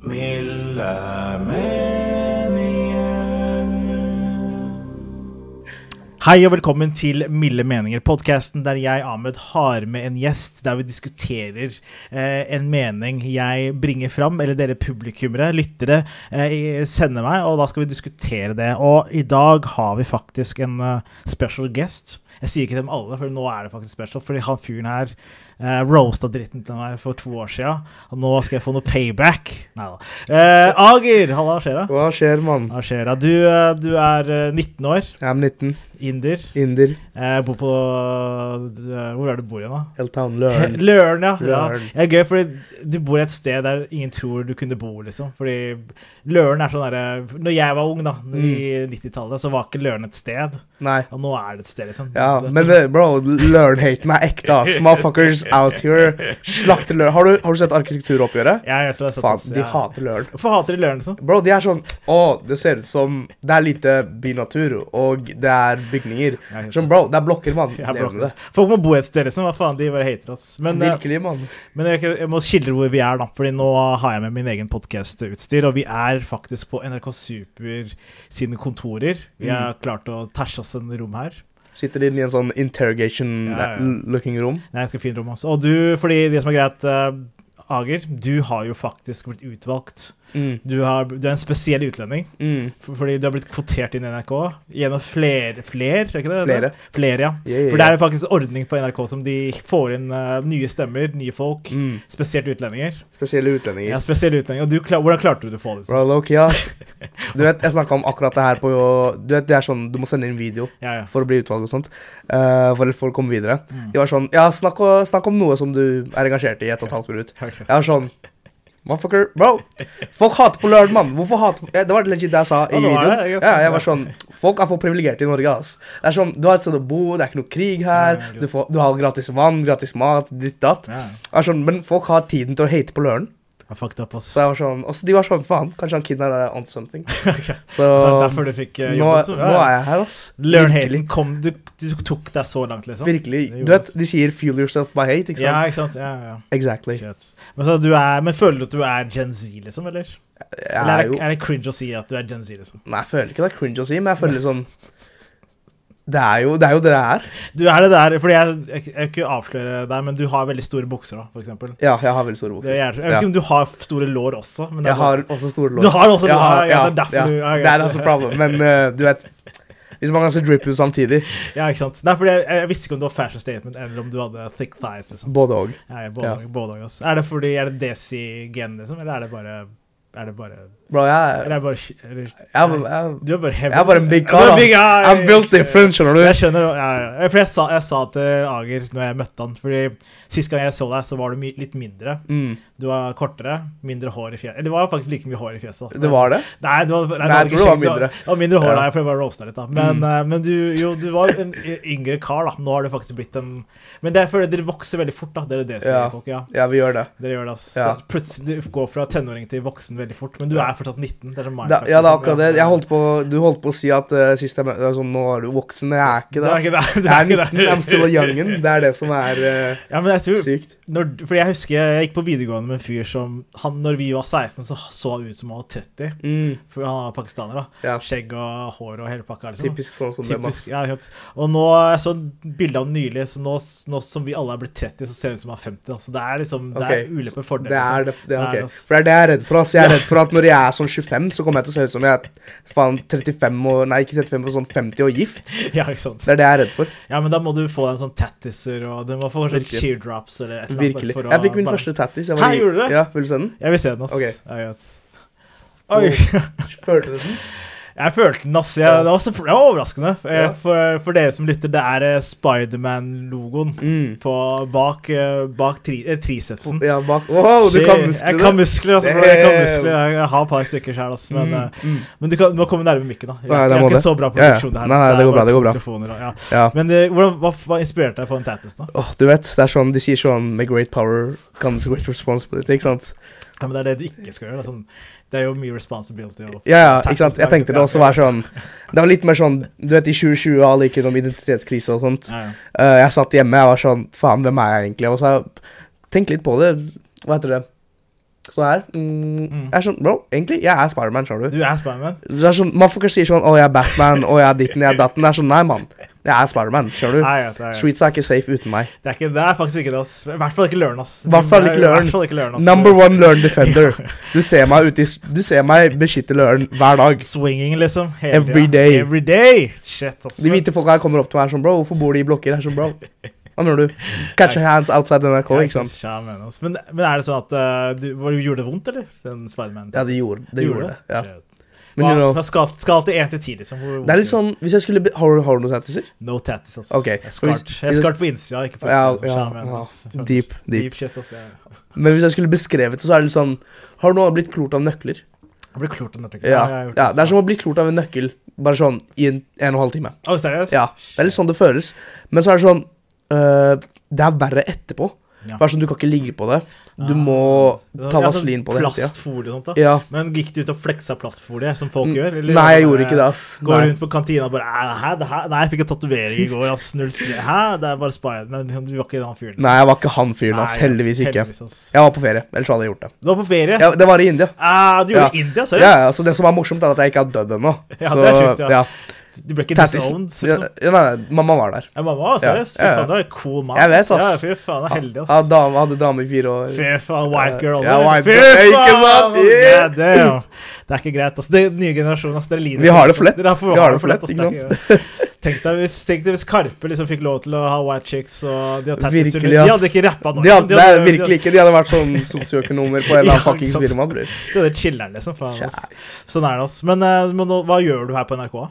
Milde meninger. Hei og velkommen til Milde meninger, podkasten der jeg, Ahmed, har med en gjest der vi diskuterer eh, en mening jeg bringer fram, eller dere publikummere, lyttere, eh, i- sender meg, og da skal vi diskutere det. Og i dag har vi faktisk en eh, special guest. Jeg sier ikke dem alle, for nå er det faktisk special, fordi han fyren her eh, roasta dritten til meg for to år sia, og nå skal jeg få noe payback. Nei da. Eh, Ager, halla, hva skjer da? Hva skjer, mann? Hva skjer da? Du, eh, du er eh, 19 år, Jeg er 19. inder. Inder. Jeg bor på eh, Hvor er det du bor igjen, da? Eltown Løren. Løren, ja. ja. Løren. Det er gøy, fordi du bor et sted der ingen tror du kunne bo, liksom. Fordi Løren er sånn derre Når jeg var ung, da, i Mm. 90-tallet, så var ikke Løren et sted. Nei. Og nå er det et sted, liksom. Ja, men eh, bro, Løren-haten er ekte, ass. Motherfuckers out here. Slakter Løren. Har, du- har du sett arkitekturoppgjøret? Jeg har hørt det. Faen, de ja. hater Løren. Hvorfor hater de Løren, liksom? Bro, de er sånn Å, det ser ut som Det er lite bynatur, og det er bygninger. Sånn, bro, det er blokker, mann. Jeg har Lev med blokket. Folk må bo et sted, liksom. Hva faen, de bare hater oss. det. Men, eh, Virkelig, mann. Men jeg, jeg må skildre hvor vi er, da. Fordi nå har jeg med min egen podkastutstyr. Og vi er faktisk på NRK Super sine kontorer. Vi har Mm. klart å tæsje oss en rom her. Sitter inne i en sånn Ja, ja. interrogation-looking rom. Nei, jeg skal finne rom også. Og du, fordi det som er greit, eh, Ager, du har jo faktisk blitt utvalgt. Mm. Du, har, du er en spesiell utlending. Mm. for- Fordi du har blitt kvotert inn i NRK gjennom flere Flere, er ikke det? Flere. Flere, ja. Ja, ja, ja. For det er faktisk en ordning på NRK som de får inn eh, nye stemmer, nye folk. Mm. Spesielt utlendinger. Spesielle utlendinger. Ja, spesielle utlendinger. Og du, kla- hvordan klarte du det å få det? liksom? Bro, low-key, ass. Du vet, jeg snakka om akkurat det her på Du vet, det er sånn, du må sende inn video Ja, Mm. ja. for å bli utvalgt og sånt. eh, for, for å komme videre. De var sånn Ja, snakk, og, snakk om noe som du er engasjert i i ett og et halvt minutt. Ok. Jeg var sånn Motherfucker, bro. Folk hater på lørdag, mann. Hvorfor hater ja, Det var legit det jeg sa Ja, det i var videoen. det, jeg- Ja, jeg var sånn Folk er for privilegerte i Norge, ass. Det er sånn, Du har et sted å bo, det er ikke noe krig her. Ja, ja, Du, får, du har gratis vann, gratis mat, ditt datt. Ja. Jeg var sånn, Men folk har tiden til å hate på lørdag. Jeg fucked up, ass. Så jeg var sånn, også de var sånn, faen, kanskje han kiden er on something. Så Det er derfor du fikk eh, nå, jobben. så nå bra. er jeg her, ass. Learn Virkelig, Hayden kom du, du tok deg så langt, liksom. Det Virkelig. gjorde Du vet, oss. de sier 'fuel yourself by hate', ikke Ja, sant? ikke sant. Ja, ja, ja. Exactly. Shit. Men, så du er, men føler du at du er Gen Z, liksom? Eller, Jeg eller er er, jo, det, er det cringe å si at du er Gen Z, liksom? nei, jeg føler ikke det er cringe å si, men jeg føler litt sånn, det er jo det er jo det det er. Du er det der, fordi jeg, jeg, jeg vil ikke avsløre deg, men du har veldig store bukser, da, for eksempel. Ja, jeg har veldig store Det er, jeg bukser. vet ikke Ja. om du har store lår også, men det Jeg er bare- har også store lår. Du har også Jeg lår, har- ja, det er derfor du- ja, Nei, greit. that's a problem, men eh, du vet, hvis man kan se drip ut samtidig, Ja, ikke sant? Nei, fordi jeg, jeg visste ikke om det var fashion statement, eller om du hadde thick thighs, liksom. både og. Ja, ja, Ja. både, både, også. Er det fordi Er det desi-gen, liksom? Eller er det bare Er det bare Bro, jeg, Eller er det bare eller, jeg, jeg, Du er bare heavy. jeg er bare en big Du er car, ass. guy. I'm built different, skjønner du? Jeg skjønner, ja, ja. For jeg sa, jeg sa til Ager når jeg møtte han Fordi Sist gang jeg så deg, så var du my litt mindre. Mm. Du var kortere, mindre hår i fjeset. Eller det var faktisk like mye hår i fjeset. da. Det var det? Nei, det var, nei, det Nei, jeg ikke tror det var skjegg, mindre. Det var mindre hår, Ja. Mm. nei, for jeg bare roasta litt, da. Men, eh, men du, jo, du var en yngre kar, da. Nå har du faktisk blitt en Men det er fordi dere vokser veldig fort, da. Dere desi-folk, ja. Ja, vi gjør det. Dere gjør det, ass. Ja. Plutselig du går fra tenåring til voksen veldig fort, men du er fortsatt 19. Det er sånn Da, ja, det er akkurat det. Jeg mindfuck, holdt på, du holdt på å si at eh, sist jeg møtte deg, sånn, nå er du voksen. Jeg er ikke det. Det er ass. ikke det, det er Jeg er ikke det. 19, I'm still a young'un. Det er det som er eh, liksom. Ja, men jeg tror, sykt. når, fordi jeg husker jeg gikk på videregående med en fyr som han, Når vi var 16, så så han ut som han var 30. Mm, For han er pakistaner, da. Ja. Skjegg og hår og hele pakka. Liksom. typisk sånn som dem, ass. Typisk, ja, helt. Og nå jeg så bilde av den nylig, så nå, nå som vi alle er blitt 30, så ser det ut som han er 50. Da. Så det er liksom Det Ok, er uleppe fordel. Det er liksom. det, det, er Det ok. er det, ass. For det er det jeg er redd for. ass. Jeg er redd for at når jeg er sånn 25, så kommer jeg til å se ut som jeg er faen 35 og Nei, ikke 35, men sånn 50 og gift. Ja, ikke sant? Det er det jeg er redd for. Ja, men da må du få deg en sånn tattiser, og du må få sånn Virkelig. teardrops eller et eller annet. bare Virkelig. for å Jeg fikk min bare- første tattis. jeg Hæ, var i- gjorde du det? Ja, Vil du se den? Jeg vil se den, ass. Ok. Ja, greit. Oi. Følte du den? Jeg følte den, ass. Jeg, Ja. det, var så, det var overraskende. Eh, Ja. For, for dere som lytter, det er eh, Spiderman-logoen på- bak, eh, bak tri, eh, tricepsen. Mm. Oh, Ja, bak Wow, du Eh. Shit, kan muskler! Jeg kan det. muskler, altså. Jeg, kan Damn. muskler. Jeg, jeg har et par stykker sjøl, altså. Men, eh, men du, kan, du må komme nærme mikken, da. Jeg, mm. Nei, det jeg må er ikke det. så bra på Ja, ja. produksjon, det her. Nei, altså. nei, det går bra, bare det går bra. mikrofoner og- ja. Ja. Men eh, hvordan, hva, hva inspirerte deg på den tattisen, da? Åh, du vet, det er sånn, De sier sånn Med great power comes great responsibility. Ikke sant? Ja, men det er det du ikke skal gjøre. da, Sånn, det er jo mye responsibility. og- Ja, ja, ikke sant? Jeg tenkte det også Ja, var sånn Det var litt mer sånn Du vet, i 2020 alle gikk gjennom identitetskrise og sånt. Ja, ja. Eh, jeg satt hjemme jeg var sånn Faen, hvem er jeg egentlig? Og så har jeg tenkt litt på det. Hva heter det? Sånn her. Mm, Jeg er sånn Bro, egentlig, jeg er Spiderman, skjønner du. Du er Spiderman? Det er sånn, man får ikke si sånn Å, jeg er Batman, og jeg er ditten, jeg er datten. Det er sånn Nei, mann. Jeg er Spiderman, skjønner du. Nei, jeg vet, jeg vet. Streets er ikke safe uten meg. Det er, ikke, det er faktisk ikke det. ass. I hvert fall ikke Løren. ass. I hvert fall Det er- ikke Løren. i hvert fall ikke løren ass. Number one learn defender. Du ser meg ute i s- Du ser meg beskytte løren hver dag. Swinging, liksom. hele Every tiden. day. Every day. Shit, ass. De hvite folka her kommer opp til meg og er sånn Bro, hvorfor bor de i blokker? Jeg er sånn, bro Hva mener du? Catch your hands outside NRK, Ja, ikke sant? tja, men, ass. Men, men er det sånn at eh, du, var det- gjorde det vondt, eller? Den Spiderman? Ja, det gjorde det. Gjorde det. Ja. Shit. Men you Hva- know, Fra skal, skal til 1 til 10, liksom. Hvor, det er litt sånn Hvis jeg skulle be Har du, har du noen tattiser? No tattis, ass. Ok, Jeg er skart, hvis- jeg er skart på innsida, ikke på Ja, utsida. ja, Ja, ja, ja. Deep, deep. deep shit, ass. Jeg Men hvis jeg skulle beskrevet det, så er det litt sånn Har du nå blitt klort av nøkler? jeg blir klort av nøkkelen. Ja. jeg har gjort ja det er ass. som å bli klort av en nøkkel, bare sånn i en, en og en halv time. Å, seriøst? Ja, Det er litt sånn det føles. Men så er det sånn øh, Det er verre etterpå. Ja. Bare sånn, Du kan ikke ligge på det. Du må Det er ta sånn vaselin på det. hele tiden. Plastfolie og sånt, da. Ja. Mm. Men gikk du ut og fleksa plastfolie, som folk gjør? eller Nei, jeg bare- gjorde ikke det, ass. Går Nei. rundt på kantina og bare "Æ, Hæ, det her? Nei, jeg fikk en tatovering i går, ass. Null stre. Hæ? Det er bare Spider. Nei, du var ikke den fyren. Nei, jeg var ikke han fyren, ass. liksom. Nei, Heldigvis ikke. heldigvis, ass. Jeg var på ferie, ellers hadde jeg gjort det. Du var på ferie? Ja, det var i India. Ah, du Ja. gjorde det i India, Ja, seriøst? ja, altså, så Det som er morsomt, er at jeg ikke har dødd ennå. Ja, Så, det er sjukt, ja. Du ble ikke Tattis- disowned? ja, Liksom. ja, nei, nei, mamma var der. Ja, mamma, Ja, seriøst? Fy ja, ja. faen, du er en cool mann. Jeg ass. vet, Ja, ass. fy faen, du er heldig, Ja, ass. dame, hadde dame i fire år. Fy faen, white girl. Ja, du. white Fy girl, ikke faen! sant? Yeah. God damn. Det er ikke greit, ass. Det er nye generasjonen, ass. Dere lider Vi har det ass. for lett. Dere har for, Vi har det for lett, ass. ikke Det er ikke- Tenk deg hvis, tenk deg hvis Karpe liksom fikk lov til å ha white chicks og de hadde tattis De Virkelig, ass. hadde ikke rappa nå. De hadde, nei, de virkelig ikke. De hadde vært sånn sosioøkonomer på en eller Ja, annen fuckings ikke sant. firma. bror. De hadde chiller'n, liksom. Faen, ass. Sånn er det, ass. Men, eh, men nå- hva gjør du her på NRK?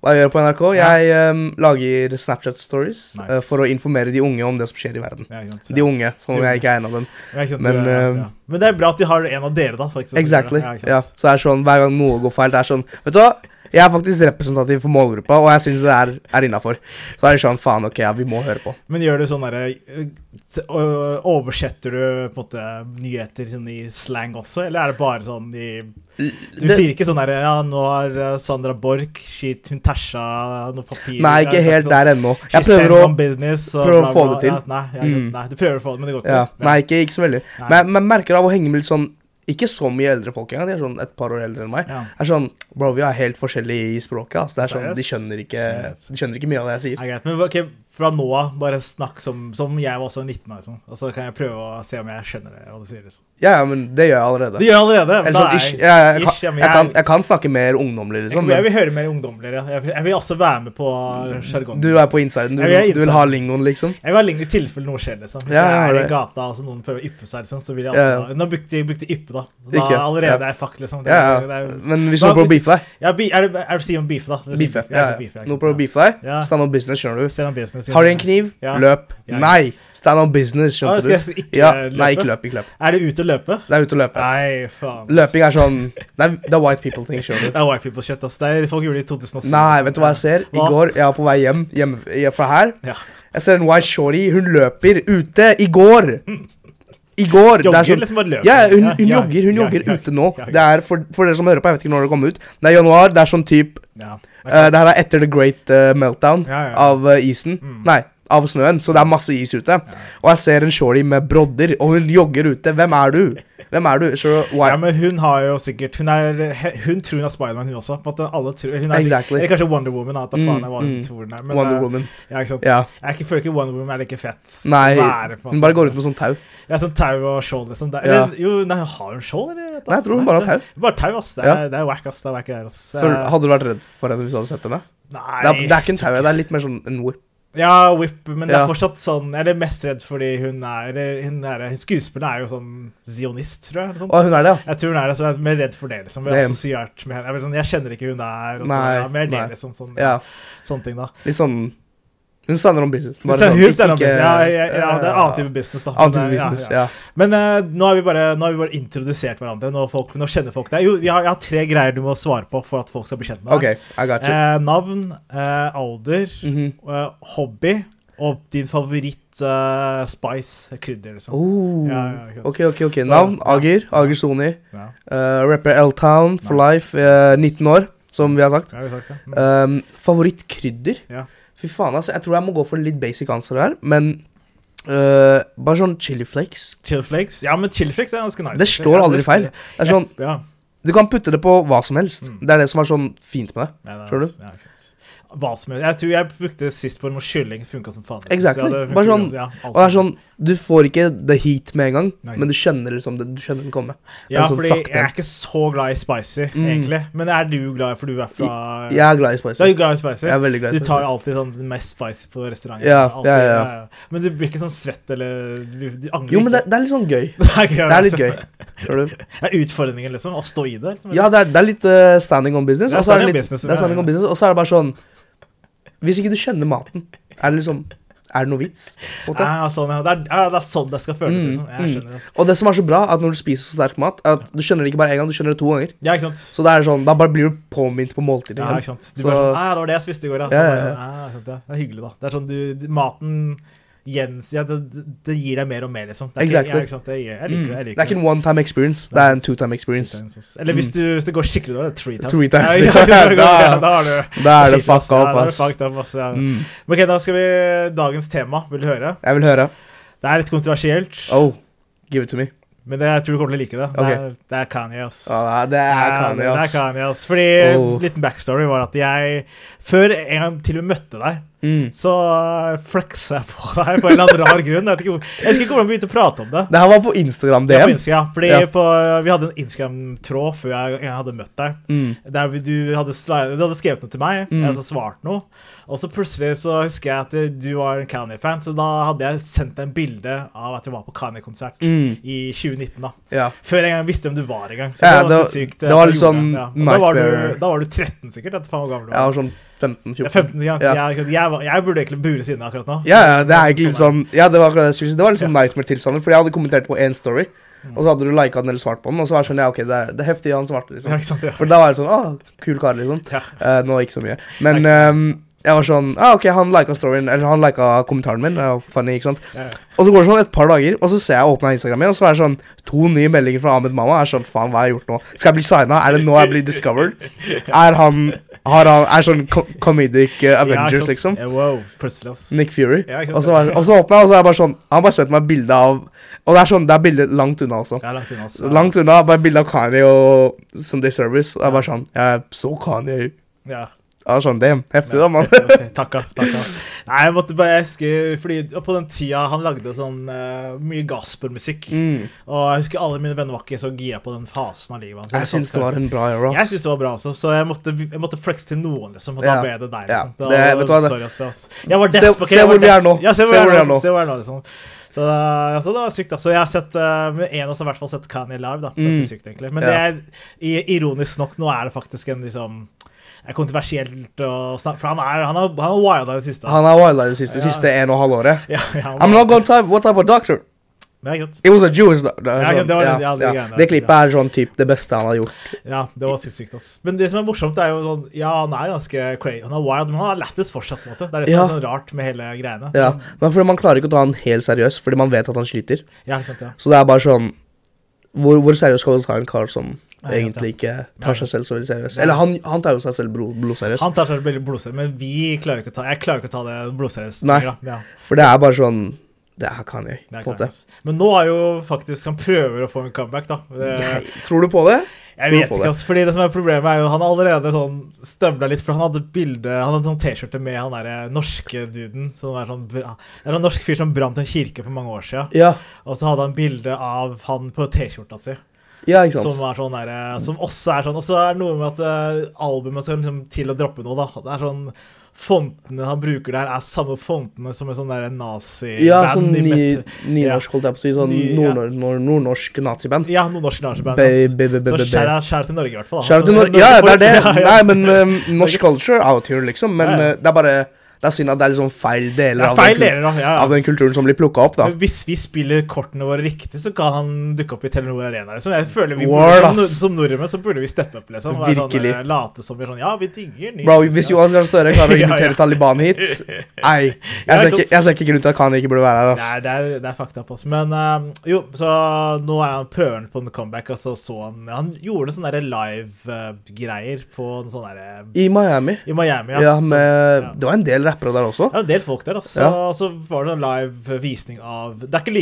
Hva jeg gjør på NRK? Ja. Jeg ehm, lager Snapchat-stories Nice. eh, for å informere de unge om det som skjer i verden. Ja, ikke sant? De unge, som De om unge. jeg ikke er en av dem. Ja, ikke sant, Men, du er- ja, eh, ja. men det er bra at de har en av dere, da. Faktisk, som Exactly. gjør det. Ja, ikke sant? så det er sånn, Hver gang noe går feil, det er sånn Vet du hva? Jeg er faktisk representativ for målgruppa, og jeg syns det er, er innafor. Så er det sånn, faen, ok, ja, vi må høre på. Men gjør du sånn derre eh, t- øh, Oversetter du på en måte nyheter sånn i slang også, eller er det bare sånn i Du Det- sier ikke sånn derre Ja, nå har eh, Sandra Borch shit, hun tæsja noe papir Nei, ikke helt sånn liksom. der ennå. Jeg prøver å prøver å få det til. Ja, Mm. nei, ja, nei, du prøver å få det, men det går ikke. ja, Nei, ikke, ikke så veldig. Nei. Men jeg men jeg merker av å henge med litt sånn Ikke så mye eldre folk engang, de er sånn et par år eldre enn meg. Ja. Er sånn, Bro, vi er helt forskjellige i språket. ass. Det er sånn, de Seriøst? skjønner ikke De skjønner ikke mye av det jeg sier. Ja, greit, men ok, Fra nå av, bare snakk som, som jeg var også 19 år, liksom. og så kan jeg prøve å se om jeg skjønner det. hva du sier liksom. Ja, ja, men det gjør jeg allerede. Det gjør jeg allerede. men Eller da sånn, er ish, ja, jeg, ish, kan, ja, men jeg, kan, jeg kan snakke mer ungdommelig, jeg, liksom. jeg Men vil høre mer ungdommeligere. ja. Jeg, vil- jeg vil også være med på sjargongen. du er på insiden. Du, Jeg er vil- du vil inside. ha lingoen, liksom. Jeg vil ha lignende tilfelle noe skjer. liksom. Hvis Ja, ja, jeg er i det. gata og så noen prøver å yppe seg, liksom, så vil jeg Ja, også ja. Nå brukte jeg brukte yppe, da. Da Ikke, allerede ja. er jeg fucked, liksom. Det, Ja, er- ja. det er- Men hvis Da- noen prøver å hvis- beefe deg Ja, be, er, det, er det si om beefe, da? Beefe. Ja, Ja, ja. ja. Noen prøver å beefe deg, Ja. stand on business, skjønner du. Stand on business. Har du en kniv? Ja. Løp. Ja. Nei, stand on business, Ah, skjønte skal jeg du. ikke Ja, løpe? nei, ikke løp, ikke løp. Er det ute å løpe? Det er ute å løpe. Nei, faen. Løping er sånn Det er, det er white people-ting, skjønner Det du. er white people shit, ass. Det er, folk gjorde det i 2007. Nei, vet du hva jeg ser? I Hva? går, jeg var på vei hjem, hjemme fra her. Ja. Jeg ser en white shorty, hun løper ute i går. I går. det Jogger, er sånn, liksom bare løper. ja, hun, hun Ja, ja, jogger, hun ja, jogger ja, ute nå. ja, ja. Det er for, for dere som hører på, jeg vet ikke når det kommer ut. Det er januar. Det er sånn type Ja. eh, Det her er etter The Great eh, Meltdown Ja, Mm. ja, ja. av eh, isen. Nei, av snøen. Så det er masse is ute. Og jeg ser en shorty med brodder, og hun jogger ute. Hvem er du? Hvem er du? Sure, why? Ja, men hun har jo sikkert Hun, er, hun tror hun er Spiderman, hun også. På en måte alle tror, eller hun er, Exactly. Eller kanskje Wonder Woman. da, At da faen er hva hun mm. tror hun er. Wonder eh, Woman. Ja, ikke sant? Ja. Jeg er ikke, føler ikke Wonder Woman er like fett. å Nei, være, på en hun måte. bare går ut med sånn tau. Ja, sånn tau og skjold, liksom. Det, Ja. eller, jo, nei, har hun skjold, eller? Nei, jeg tror hun bare har tau. Bare tau, ass. Det er, Ja. det er whack, ass. Det er whack greier, ass. For, Eh, hadde du vært redd for henne hvis du hadde sett henne? Nei. Det er, det er ikke en tau, det er litt mer sånn en whip. Ja, whip, men det Ja. er fortsatt sånn Jeg er mest redd fordi hun er, eller hun er Skuespilleren er jo sånn zionist, tror jeg. Eller sånn. sånt. Å, hun er det, ja. Jeg tror hun er det, så jeg er mer redd for det. liksom Jeg, er Damn. assosiert med henne. jeg, er sånn, jeg kjenner ikke hun der. Og så, Nei, ja, mer det, nei. liksom. Sånn, ja. Sånne ting, da. Litt sånn Hun stander om business. sånn, Hvis det er hus, det er ikke- noe business. Ja, ja, ja, det er annen type business, da. Annen Men, type ja, business, ja. ja. Men eh, nå, har vi bare, nå har vi bare introdusert hverandre. Nå, folk, nå kjenner folk deg. Jo, vi har, jeg har tre greier du må svare på for at folk skal bli kjent med Ok, deg. I got you. Eh, navn, eh, alder, Mhm. eh, hobby og din favoritt eh, spice, krydder, liksom. Oh, ja, ja, ikke sant. ok, ok, ok. Så- Navn? ja. Ager. Ager Soni. Ja, Eh, rapper L-Town for life. eh, 19 år, som vi har sagt. det har vi sagt, ja. Mm. Um, Favorittkrydder? Ja. Fy faen, altså. Jeg tror jeg må gå for en litt basic answer her, men eh, bare sånn chili flakes. Chill flakes. Ja, men chill flakes er ganske nice. altså. Det slår aldri feil. Det er sånn, Ja, Du kan putte det på hva som helst. Mm. Det er det som er sånn fint med det. ja, det er Tror du? nice. altså, Ja, ikke sant. hva som helst. Jeg tror jeg brukte sist på noe kylling. Funka som faen. liksom. Exactly. Så ja, det Bare funker sånn- jo- ja, alt Og det er funker. sånn, Du får ikke the heat med en gang, Nei. men du skjønner liksom det, du skjønner den komme. Det er Ja, sånn fordi sakte. jeg er ikke så glad i spicy, egentlig. Men er du glad i For du er fra Jeg er glad i spicy. Du er jo glad i spicy. Jeg er veldig glad i du tar spicy. alltid sånn den mest spicy på restauranten. Ja, Alltid, ja, ja, ja. Men du blir ikke sånn svett eller Du, du angrer Jo, men det, ikke. det er litt sånn gøy. er gøy, Det er litt gøy. liksom. Tror du? Det er utfordringen, liksom. Å stå i det. Liksom. Ja, det er, det er litt eh, standing on business. Det er og så standing on litt, business, det er standing ja, on ja. business, og så er det bare sånn Hvis ikke du kjenner maten, er det liksom Er det noe vits? på en måte? Mm, Ja, sånn, ja. Det, er, ja, det er sånn det skal føles. Liksom. Jeg skjønner det. altså. Og det som er så bra, er at når du spiser så sterk mat, er at du skjønner det ikke bare én gang, du skjønner det to ganger. Ja, ikke sant? Så det er sånn, da bare blir du påminnet på måltidet. Ja, igjen. ikke sant? Du Så- bare sånn, «Ah, det var det jeg spiste i går, ja. Så Ja, ja, bare, ja. «Ah, ikke sant, ja. Det er hyggelig, da. Det er sånn du Maten gjens... Ja, det, det gir deg mer og mer, liksom. Det er ikke, Exactly. Mm. ja, ikke sant? Det gir, jeg liker det. Jeg liker Det er ikke en one time experience, det er en two time experience. Eller hvis, du, hvis det går skikkelig dårlig, det er three times. Three Ja, times, ja. ja, da, Da- da har du Da er det Shit, Ja, fuck off, da er det ass. Mm. fucked up, ass, ja. Men Ok, da skal vi Dagens tema, vil du høre? Jeg vil høre. Det er litt kontroversielt, Oh, give it to me. men det, jeg tror du kommer til å like det. Det Ok. er, det er Kanye, ass. Ja, det er Kanye, Ja, det ass. er Kanye, ass. Fordi Oh. liten backstory var at jeg Før en gang til vi møtte deg, Mm. så flexa jeg på deg på en eller annen rar grunn. Jeg, vet ikke hvor, jeg husker ikke hvordan vi begynte å prate om det. Det her var på Instagram Ja, på DM. Insta, ja. Fordi Ja. På, vi hadde en Instagram-tråd før jeg, jeg hadde møtt deg. Mm. Der vi- du hadde, sli- du hadde skrevet noe til meg, jeg hadde svart noe. Og så plutselig så husker jeg at du var en Kanye-fan, så da hadde jeg sendt deg en bilde av at du var på Kanye-konsert Mm. i 2019. da. Ja. Før jeg engang visste hvem du var engang. Så det var Ja, ganske det var- sykt. det eh, var at litt du gjorde sånn det, Og Da var, du, nightmare. da var du 13 sikkert? Etter faen hvor gammel du Jeg var var. sånn 15-14. Ja, 15, ja. Ja. Jeg, jeg, var, jeg burde egentlig bures inne akkurat nå. Ja, ja, det er egentlig litt sånn Ja, det var akkurat det jeg skulle si. Det var litt sånn nightmare-tilstander, fordi jeg hadde kommentert på én story, Mm. og så hadde du lika den eller svart på den, og så var jeg sånn Ja, ok, det er, det er heftig han svarte, Ja, liksom. ikke sant? Ja. For da var jeg sånn Å, kul kar, liksom. Ja. Eh, nå ikke så mye. Men ehm, jeg var sånn Ja, ah, ok, han lika storyen, eller han lika kommentaren min. Det var funny, ikke sant. Ja, ja. Og så går det sånn et par dager, og så ser jeg åpna Instagram igjen, og så er det sånn to nye meldinger fra Ahmed Mamma. Jeg Er sånn, faen, hva har jeg gjort nå? Skal jeg bli signa? Er det nå jeg blir discovered? Er han har han, Er sånn co comedic eh, ikke Avengers, sant? liksom? Ja, wow, plutselig, ass. Nick Fury. Ja, ikke sant. Og så var- og så åpna jeg, og så er jeg bare sånn Han har bare sendt meg bilde av Og det er sånn, det er bilder langt unna også. Jeg er langt unna, ass. Langt unna. Bare bilde av Kanye og Sunday Service. Og jeg bare sånn Jeg så Kanye. Ja. Jeg var sånn, damn, heftig da, mann. Ok, Takka. takka. Nei, jeg måtte bare jeg husker, fordi På den tida han lagde sånn eh, mye gospelmusikk. Mm. Og jeg husker alle mine venner var ikke så gira på den fasen av livet hans. Jeg syns det var en bra era. Jeg ass. synes det var bra også, så jeg måtte, jeg måtte flex til noen, liksom. Og da Ja. ble det deg. Ja. liksom. Da, Det- vet du hva, det- sorry, ass, ass. Jeg var Se- desp- ok, se jeg var hvor vi er desp- nå. Ja, se hvor vi er nå. nå. Se hvor vi er nå, liksom. Så, da- så det var sykt, da. Så jeg har sett eh, med en av oss har i hvert fall sett Kanye live, da. Så det er sykt, egentlig. Men det Mm. er Ja. i- ironisk nok, nå er det faktisk en liksom er kontroversielt å snakke For han er, han er, han er wilda i det siste. Han har wilda det siste, siste en og halv året. ja, ja, han I'm not gonna type what type of doctor. Men det er greit. It was a Jewish, da. Det, er Ja, sånn, det var det- ja, ja, det ja. greiene der. det klippet er sånn typ det beste han har gjort. Ja, det var sykt sykt, ass. Men det som er morsomt, er jo sånn Ja, han er ganske crazy. Han er wild, men han er lættis fortsatt, på en måte. Det er det som er Ja. sånn rart med hele greiene. Ja. Men fordi man klarer ikke å ta han helt seriøst, fordi man vet at han sliter. Ja, ikke sant, ja. Så det er bare sånn Hvor, hvor seriøst skal du ta en kar som Nei, jeg vet egentlig ikke tar seg selv så veldig seriøst? Eller han, han tar jo seg selv bro- blodseriøst. Han tar seg veldig blodseriøst, men vi klarer ikke å ta Jeg klarer ikke å ta det blodseriøst. Nei. lenger, da. Ja, For det er bare sånn Det er Kanye, det er på en klart, måte. ass. Men nå er jo faktisk Han prøver å få en comeback, da. Det, Jeg, tror du på det? Jeg tror vet på ikke, det. ass, fordi det som er problemet er jo Han har allerede sånn støvla litt, for han hadde et bilde Han hadde sånn T-skjorte med han derre norske duden. Som er sånn, bra- det er en norsk fyr som brant en kirke for mange år siden. Ja, Og så hadde han bilde av han på T-skjorta si. ja ikke Som, sant? er sånn der, eh, som også er sånn Og så er det noe med at eh, albumet skal liksom til å droppe noe, da. Det er sånn Fontene han bruker der, er samme fontene som en sånn der nazi-band. Ja, sånn i ny, metal- nynorsk, holdt jeg på å si. Sånn Ny- ja. nordnor- nor- nordnorsk naziband. Ja, noen norske naziband. altså. Be- be- be- be- Så be- skjær skjær til Norge, i hvert fall. da. Altså, Shout out til Nor- Norge Ja, det får- er det. Ja, ja. Nei, men um, norsk culture out here, liksom. Men Ja, ja. uh, det er bare Det er synd at det er liksom feil Det deler er av den, feil kul deler, da. Ja, av ja. den kulturen som blir plukka opp, da. Men hvis vi spiller kortene våre riktig, så kan han dukke opp i Telenor Arena. Liksom. Jeg føler vi Word, burde, som, ass. som nordmenn så burde vi steppe opp, liksom. og være Virkelig. Sånn, eh, late som vi er sånn Ja, vi digger ny Bro, musikk, hvis ja. Johan Gahr Støre klarer å Ja, ja. invitere Taliban hit Nei. Ja, Jeg ser ikke ikke, sant? jeg ser ikke grunn til at Khan ikke burde være her. ass. Nei, det er, det er fakta på oss. Men eh, jo, så nå er han prøveren på en comeback, og så så han Han gjorde sånne der live-greier på en sånn derre I Miami. I Miami, Ja, Så- med, ja. Det var en del rappere der også. Ja, en del folk der, altså. Ja. Og så var det en live visning av Det er ikke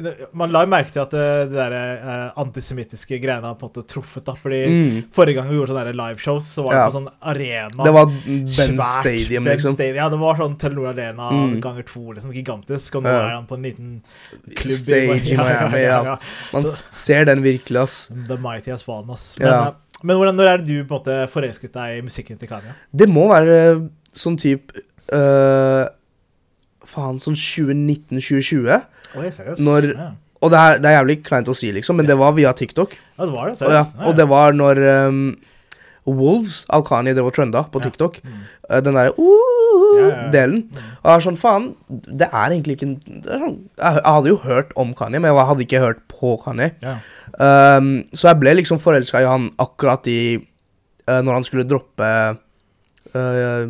like Man la jo merke til at eh, det der eh, antisemittiske greiene har på en måte truffet, da. Fordi forrige gang vi gjorde sånne der liveshows, så var det Mm. Ja. på sånn arena. Det var Ben svært Stadium, Ben liksom. Mm. Stadium. Ja, det var sånn Telenor Arena ganger to, liksom. Gigantisk. Og nå Ja. er han på en liten klubb Stage i Miami, ja. Man Så- ser den virkelig, ass. The Mighty as Van, ass. Men, Ja. eh, men hvordan, når er det du på en måte forelsket deg i musikken til Kanye? Det må være eh, sånn type eh, Faen, sånn 2019-2020. Oi, seriøst? Når- ja. Og det er, det er jævlig kleint å si, liksom, men det var via TikTok. ja, det var det. Og, ja, Seriøst. og det var når ehm, Wolves av Kanye drev og trenda på TikTok. Mm. Eh, Den derre Ja, ja, ja. delen. Og jeg var sånn, faen, det er egentlig ikke en- det er sånn, jeg, jeg hadde jo hørt om Kanye, men jeg hadde ikke hørt på Kanye. ja. Ehm, så jeg ble liksom forelska i han akkurat i eh, Når han skulle droppe eh,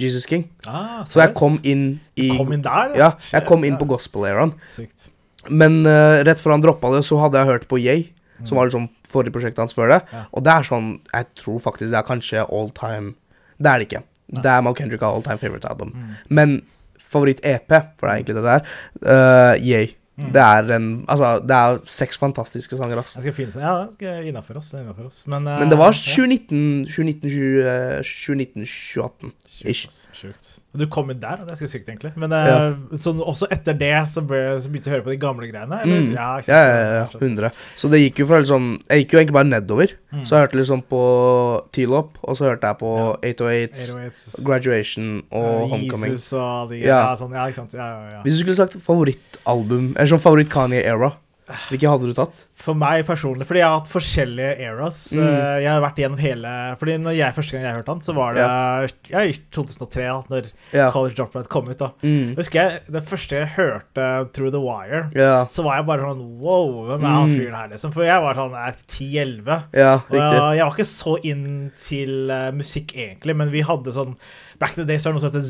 Jesus King. Ah, Så jeg seriøst? kom inn i Kom inn der? Ja, jeg kom inn Ja. på gospel-eraen. Sykt. Men eh, rett før han droppa det, så hadde jeg hørt på Yay, som var liksom forrige prosjektet hans før det. Mm. Ja. Og det er sånn Jeg tror faktisk det er kanskje all time Det er det ikke. Det er Mal Kendrick all time favorite album. Mm. Men favoritt-EP, for det er egentlig det der, uh, Yay. Mm. Det er en Altså, det er seks fantastiske sanger, ass. Jeg skal finne seg. Ja, det skal innafor oss. det er innenfor oss. Men, eh, Men det ja, var 2019, 2019, 20, eh, 2019 2018. sjukt, Ish. ass, Sjukt. Du kom inn der, og det er ganske sykt, egentlig. Men eh, så også etter det så, ble, så begynte jeg å høre på de gamle greiene? Eller? Mm. Ja, ikke sant, Ja, ja, ja, skjønt. 100. Så det gikk jo fra liksom Jeg gikk jo egentlig bare nedover. Mm. Så jeg hørte liksom på T-Lop, og så hørte jeg på 808s, 808s, Graduation og eh, Homecoming. Jesus og alle de ja. Ja. sånn, ja, ikke sant. Ja, ja, ja. Hvis du skulle sagt favorittalbum, eller sånn favoritt-Kanye-era, hvilken hadde du tatt? For meg personlig, fordi jeg har hatt forskjellige eras. Mm. eh, Jeg har vært gjennom hele Fordi når jeg første gang jeg hørte han, så var det ja. i 2003, da når Ja. College Dropout kom ut. da Mm. Husker jeg, Det første jeg hørte Through The Wire, Ja, Mm. så var jeg bare sånn Wow, hvem er han fyren her, liksom? For jeg var sånn eh, 10-11. ja Og jeg, riktig. jeg var ikke så inn til eh, musikk, egentlig, men vi hadde sånn Back in the day så var det noe som heter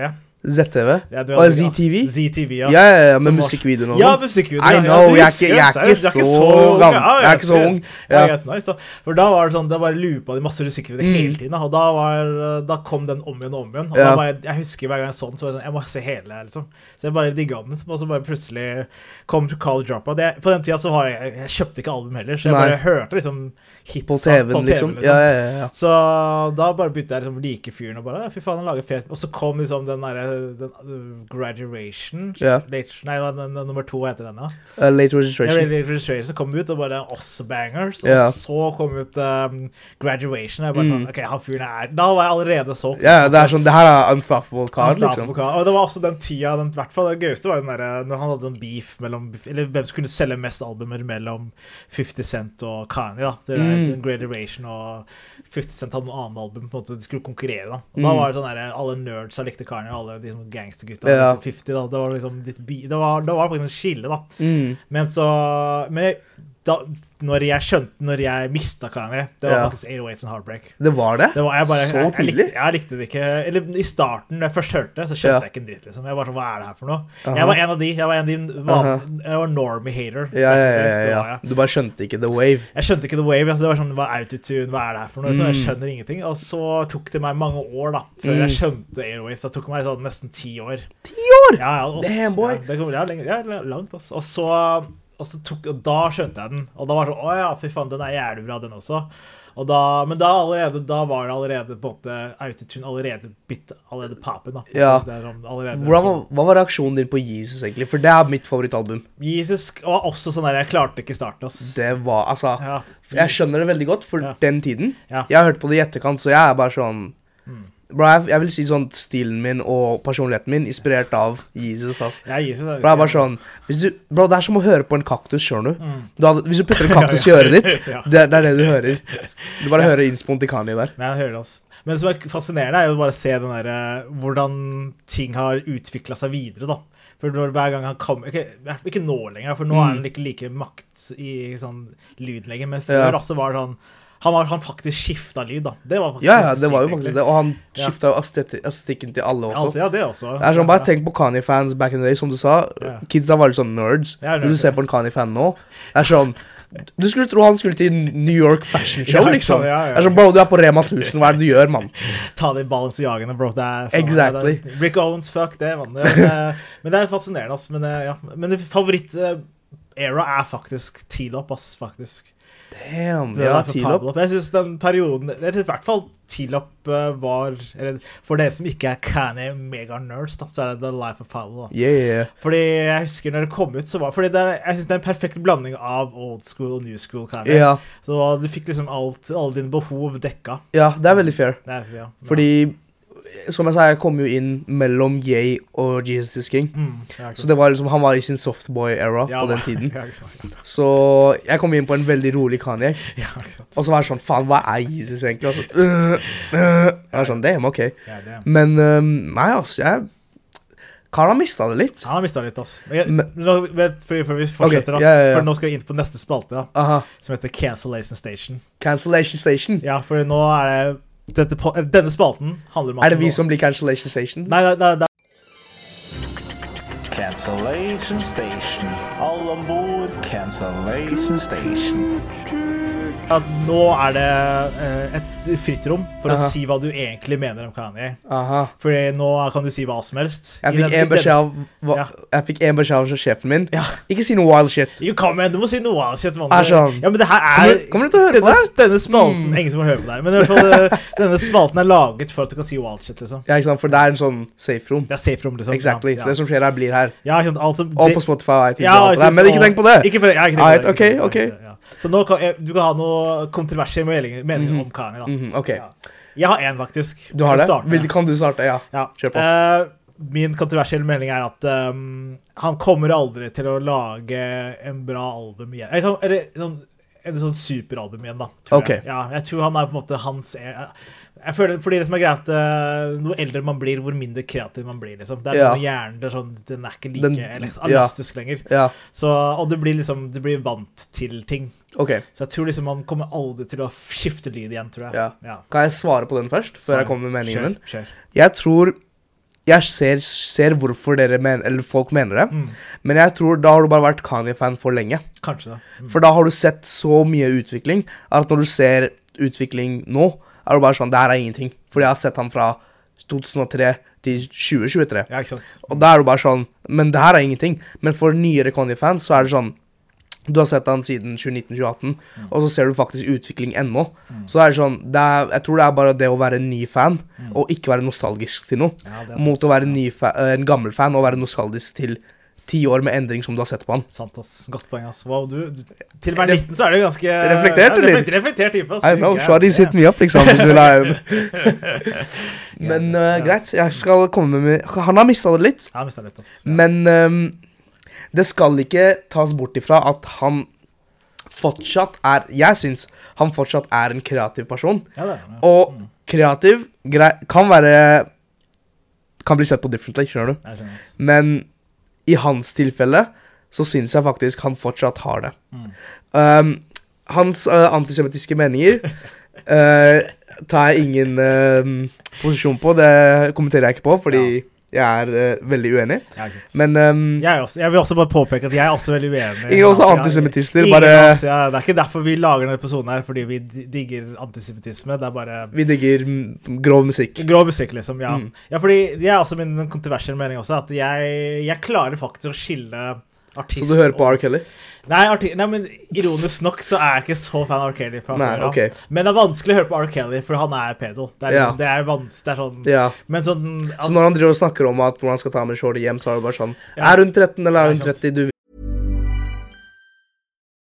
ZTV. ZTV? Ja, det var- Og ZTV? ZTV, Ja, ja, ja, Som med var- musikkvideoen og Ja, sånt. musikkvideoen. I ja, ja, know, du jeg er husker ikke- jeg er det, ikke seriøst, du er så ung, gammel. ja, Jeg er ikke så ung, Ja. ja. Mm. greit, nice, da. For da var det sånn, det bare loopa de masse musikkvideoer hele tiden. da, Og da, var, da kom den om igjen og om igjen. Og Ja. da bare, jeg husker hver gang jeg så den, så var det sånn, jeg må se hele, liksom. Så jeg bare digga den. liksom, Og så bare plutselig kom Carl Dropout. Det, på den tida så var jeg, jeg kjøpte ikke album heller, så jeg Nei. bare hørte liksom hits På TV-en, liksom. Ja, ja, ja, ja. så da bare begynte jeg liksom å like fyren og bare «Å, Fy faen, han lager fet Og så kom liksom den derre den, uh, Graduation Ja. late, Nei, hva er den, den nummer to hva heter den, da. Uh, late Ja, Registration. Late Registration som kom ut, og bare oss bangers. Og Ja. Mm. så kom ut um, Graduation. Og jeg bare sånn OK, han fyren er Da var jeg allerede så Ja, det er sånn Det her er Unstoppable Car, Han slapp liksom. på ka- Og det var også den tida den, i hvert fall, Det gøyeste var jo den der, eh, når han hadde en beef mellom Eller hvem som kunne selge mest albumer mellom 50 Cent og Kanye. da Det er Mm. den Graduation og Mm. 50 Cent hadde noe annet album. på en måte De skulle konkurrere. da Og da var det sånn der, Alle eh, nerds som likte Kanye, og alle de som gangstergutta. Ja. 50, da. Det var liksom ditt bi... Det var, det var faktisk en skille, da. Mm. Men så Men da, når jeg skjønte Når jeg mista Kanye, det var Ja. faktisk 808s and Heartbreak. Det var det? Det var, jeg bare, jeg, Så jeg, likte, tidlig? jeg likte det ikke. Eller I starten, da jeg først hørte det, så skjønte Ja. jeg ikke en dritt. liksom. Jeg var sånn, Hva er det her for noe? Jeg var en av de. Jeg var en av de Aha. van- Jeg var normie-hater. Ja, ja, ja, Så det ja, var ja. jeg. Du bare skjønte ikke The Wave. Jeg skjønte ikke The Wave. altså det var sånn, Hva er autotune? Hva er det her for noe? Så Mm. jeg skjønner ingenting. Og så tok det meg mange år da, før jeg skjønte Airways. Det tok meg sånn nesten ti år. Ti år! Ja, ja, og, Damn, boy. Ja, det kommer, ja, lenge, ja, langt, altså. Og så, og så tok, og da skjønte jeg den. Og da var det sånn Å ja, fy faen, den er jævlig bra, den også. Og da, men da, allerede, da var det allerede på en måte autotune allerede bitt allerede papen, da. Ja. Det er sånn allerede, Hvordan, var- hva var reaksjonen din på Jesus, egentlig? For det er mitt favorittalbum. Jesus var også sånn der Jeg klarte ikke starten, ass. Det var, altså Ja. Jeg skjønner det veldig godt for Ja. den tiden. Ja. Jeg har hørt på det i etterkant, så jeg er bare sånn Bro, jeg, jeg vil si sånn stilen min og personligheten min inspirert av Jesus, altså. Jeg gir seg det. Bro, jeg er bare sånn hvis du, Bro, det er som å høre på en kaktus, skjønner du? du hadde, hvis du putter en kaktus i øret ditt, Ja. det, er- det er det du hører. Du bare hører innspoen til Kanye der. Nei, jeg hører det altså. Men det som er fascinerende, er jo bare å se den der, eh, hvordan ting har utvikla seg videre. da. For når, hver gang han kom, ikke, i hvert fall ikke nå lenger, for nå er Mm. han ikke like makt i sånn lyd lenger. Men før Ja. da, så var det sånn han, var, han faktisk skifta lyd, da. Det var faktisk Ja, ja, ganske det var jo sykt, faktisk egentlig. det. Og han Ja. skifta jo asteti- estetikken til alle også. Alt, ja, det også. Det er sånn, Bare Ja. tenk på Kanye-fans back in the day, som du sa. Ja. Kidsa var litt sånn nerds. Ja, Hvis du nerds, ser på en Kanye-fan nå, det er sånn Du skulle tro han skulle til New York Fashion Show, Ja, ikke sant, liksom. ja, ja. Det er sånn, Bro, du er på Rema 1000, hva er det du gjør, mann? Ta det i balanseagene, bro. Det er, Exactly. det er, Rick Owens, fuck det, mann. Det- det- Men det er fascinerende, ass. Men, eh, ja. men favoritt-era er faktisk Teal Up, ass. faktisk. Damn, Det ja, var for tid Pablo. opp. Men Jeg synes den perioden eller I hvert fall Tilop var eller, For dere som ikke er Canny mega-nerds, da, så er det The Life of Pablo. Da. Yeah, yeah, yeah. Fordi jeg husker når det kom ut, så var Fordi det er, jeg synes det er en perfekt blanding av old school og new school. Canny. Ja. Så du fikk liksom alt, alle dine behov dekka. ja, det er veldig fair. Det er, ja. Fordi, som jeg sa, jeg kom jo inn mellom Yay og Jesus is King. Mm, ja, ikke Så det var liksom, han var i sin softboy-era sant. Ja, på den tiden. Ja, ikke sant. Så jeg kom inn på en veldig rolig Kanye. Ja, ikke sant. Og så var jeg sånn Faen, hva er Jesus egentlig? sånn, Og så, øh, øh. Jeg var sånn, Damn, ok. Ja, det. Men øhm, nei, altså, jeg Karen har mista det litt. Han har mista litt, ass. Men jeg- Men- nå- Vent, før før vi fortsetter, da. ja, ja, ja. For nå skal vi inn på neste spalte, da, Aha. som heter Cancellation Station. Cancellation Station. Ja, for nå er det dette, po- Denne spalten handler om at- Er det vi som blir Cancellation Station? Nei, nei, nei, nei. Cancellation Station. All on board Cancellation Station. At nå er det eh, et fritt rom for Aha. å si hva du egentlig mener om Kanye. Aha. Fordi nå kan du si hva som helst. Jeg fikk én beskjed av hva, Ja. Jeg fikk en beskjed av sjefen min. Ja. Ikke si noe wild shit. Jo, kom igjen, du må si noe av sitt mann. Er sånn. Ja, men det her er Kommer du- kommer du til å høre på denne, det? Mm. Denne spalten Ingen som hører på det her, men i hvert fall eh, denne spalten er laget for at du kan si wild shit, liksom. Ja, ikke sant? For det er en sånn safe room. Det er safe rom, liksom. Exactly. Ja, Så ja. det som skjer her, blir her. ja, ikke sant, alt som, Og det- på Spotify og iTunes Ja, og alt det der. iTunes Men ikke og- tenk på det. Ikke på det, ja, ikke tenk Alright, på det, ikke ok, tenk på det, ja. Så nå kan, jeg- du kan ha noe kontroversielle meninger, meninger om Kanye. da. Mhm, ok. Ja. Jeg har én, faktisk. Du har Jeg det? starter. Vil, kan du starte? Ja. ja. Kjør på. Eh, min kontroversielle mening er at ehm, han kommer aldri til å lage en bra album igjen. Eller, kan- eller sånn, en sånn superalbum igjen, da. tror Ok. Jeg. Ja, jeg tror han er på en måte hans jeg, jeg føler, fordi det som er greit, uh, Hvor eldre man blir, hvor mindre kreativ man blir. liksom. Det er Ja. noe med hjernen det er sånn, den er ikke like Den- ja. elastisk lenger. Ja, Så, og du blir liksom du blir vant til ting. ok. Så jeg tror liksom man kommer aldri til å skifte lyd igjen, tror jeg. Ja. Kan jeg svare på den først? Før jeg kommer med meningen min? Kjør, kjør. Jeg tror Jeg ser, ser hvorfor dere men, eller folk mener det, men jeg tror da har du bare vært Kanye-fan for lenge. Kanskje det. For da har du sett så mye utvikling at når du ser utvikling nå, er du bare sånn Det her er ingenting. For jeg har sett han fra 2003 til 2023. Ja, ikke sant. Og da er du bare sånn Men det her er ingenting. Men for nyere Kanye-fans så er det sånn Du har sett han siden 2019-2018, og så ser du faktisk utvikling ennå. Så det er sånn det er, Jeg tror det er bare det å være en ny fan og ikke være nostalgisk til noe, Ja, det er mot å være en, ny fa eh, en gammel fan og være nostalgisk til ti år med endring som du har sett på han. Sant, ass. Godt poeng, ass. Wow, du, du Til å være 19 så er du ganske Reflektert, ja, eller? reflekt- Reflektert type. ass. I know, Gæren. shawty's hit me up, liksom. Hvis du vil ha en. Men eh, Ja. greit, jeg skal komme med min Han har mista det litt. Ja, jeg mistet litt, ass. Ja. Men ehm, det skal ikke tas bort ifra at han fortsatt er Jeg syns han fortsatt er en kreativ person. Ja, det er det. Og kreativ grei, kan være kan bli sett på differently, skjønner du. Jeg skjønner, ass. Men i hans tilfelle så syns jeg faktisk han fortsatt har det. Mm. Um, hans uh, antisemittiske meninger uh, tar jeg ingen um, posisjon på. Det kommenterer jeg ikke på, fordi jeg er uh, veldig uenig. Ja, greit. Men um, jeg, er også, jeg vil også bare påpeke at jeg er også veldig uenig. Ingen er også Ja, antisemittister, ingen bare- er også- ja, Det er ikke derfor vi lager denne episoden her, fordi vi d- digger antisemittisme. Det er bare vi digger mm, grov musikk. grov musikk, liksom. Ja, Mm. ja fordi det er også min kontroversielle mening også, at jeg, jeg klarer faktisk å skille artist Så du hører på og- R. Kelly? Nei, arti nei, men ironisk nok så er jeg ikke så fan av R. Kelly. Fra Nei, før av. ok. Men det er vanskelig å høre på R. Kelly, for han er pedo. Det er, liksom, Ja. det er, vans det er sånn Ja. Men sånn Så når han driver og snakker om at hvordan han skal ta med shorty hjem, så er det bare sånn Ja. Er hun 13, eller Ja, er hun sant. 30? Du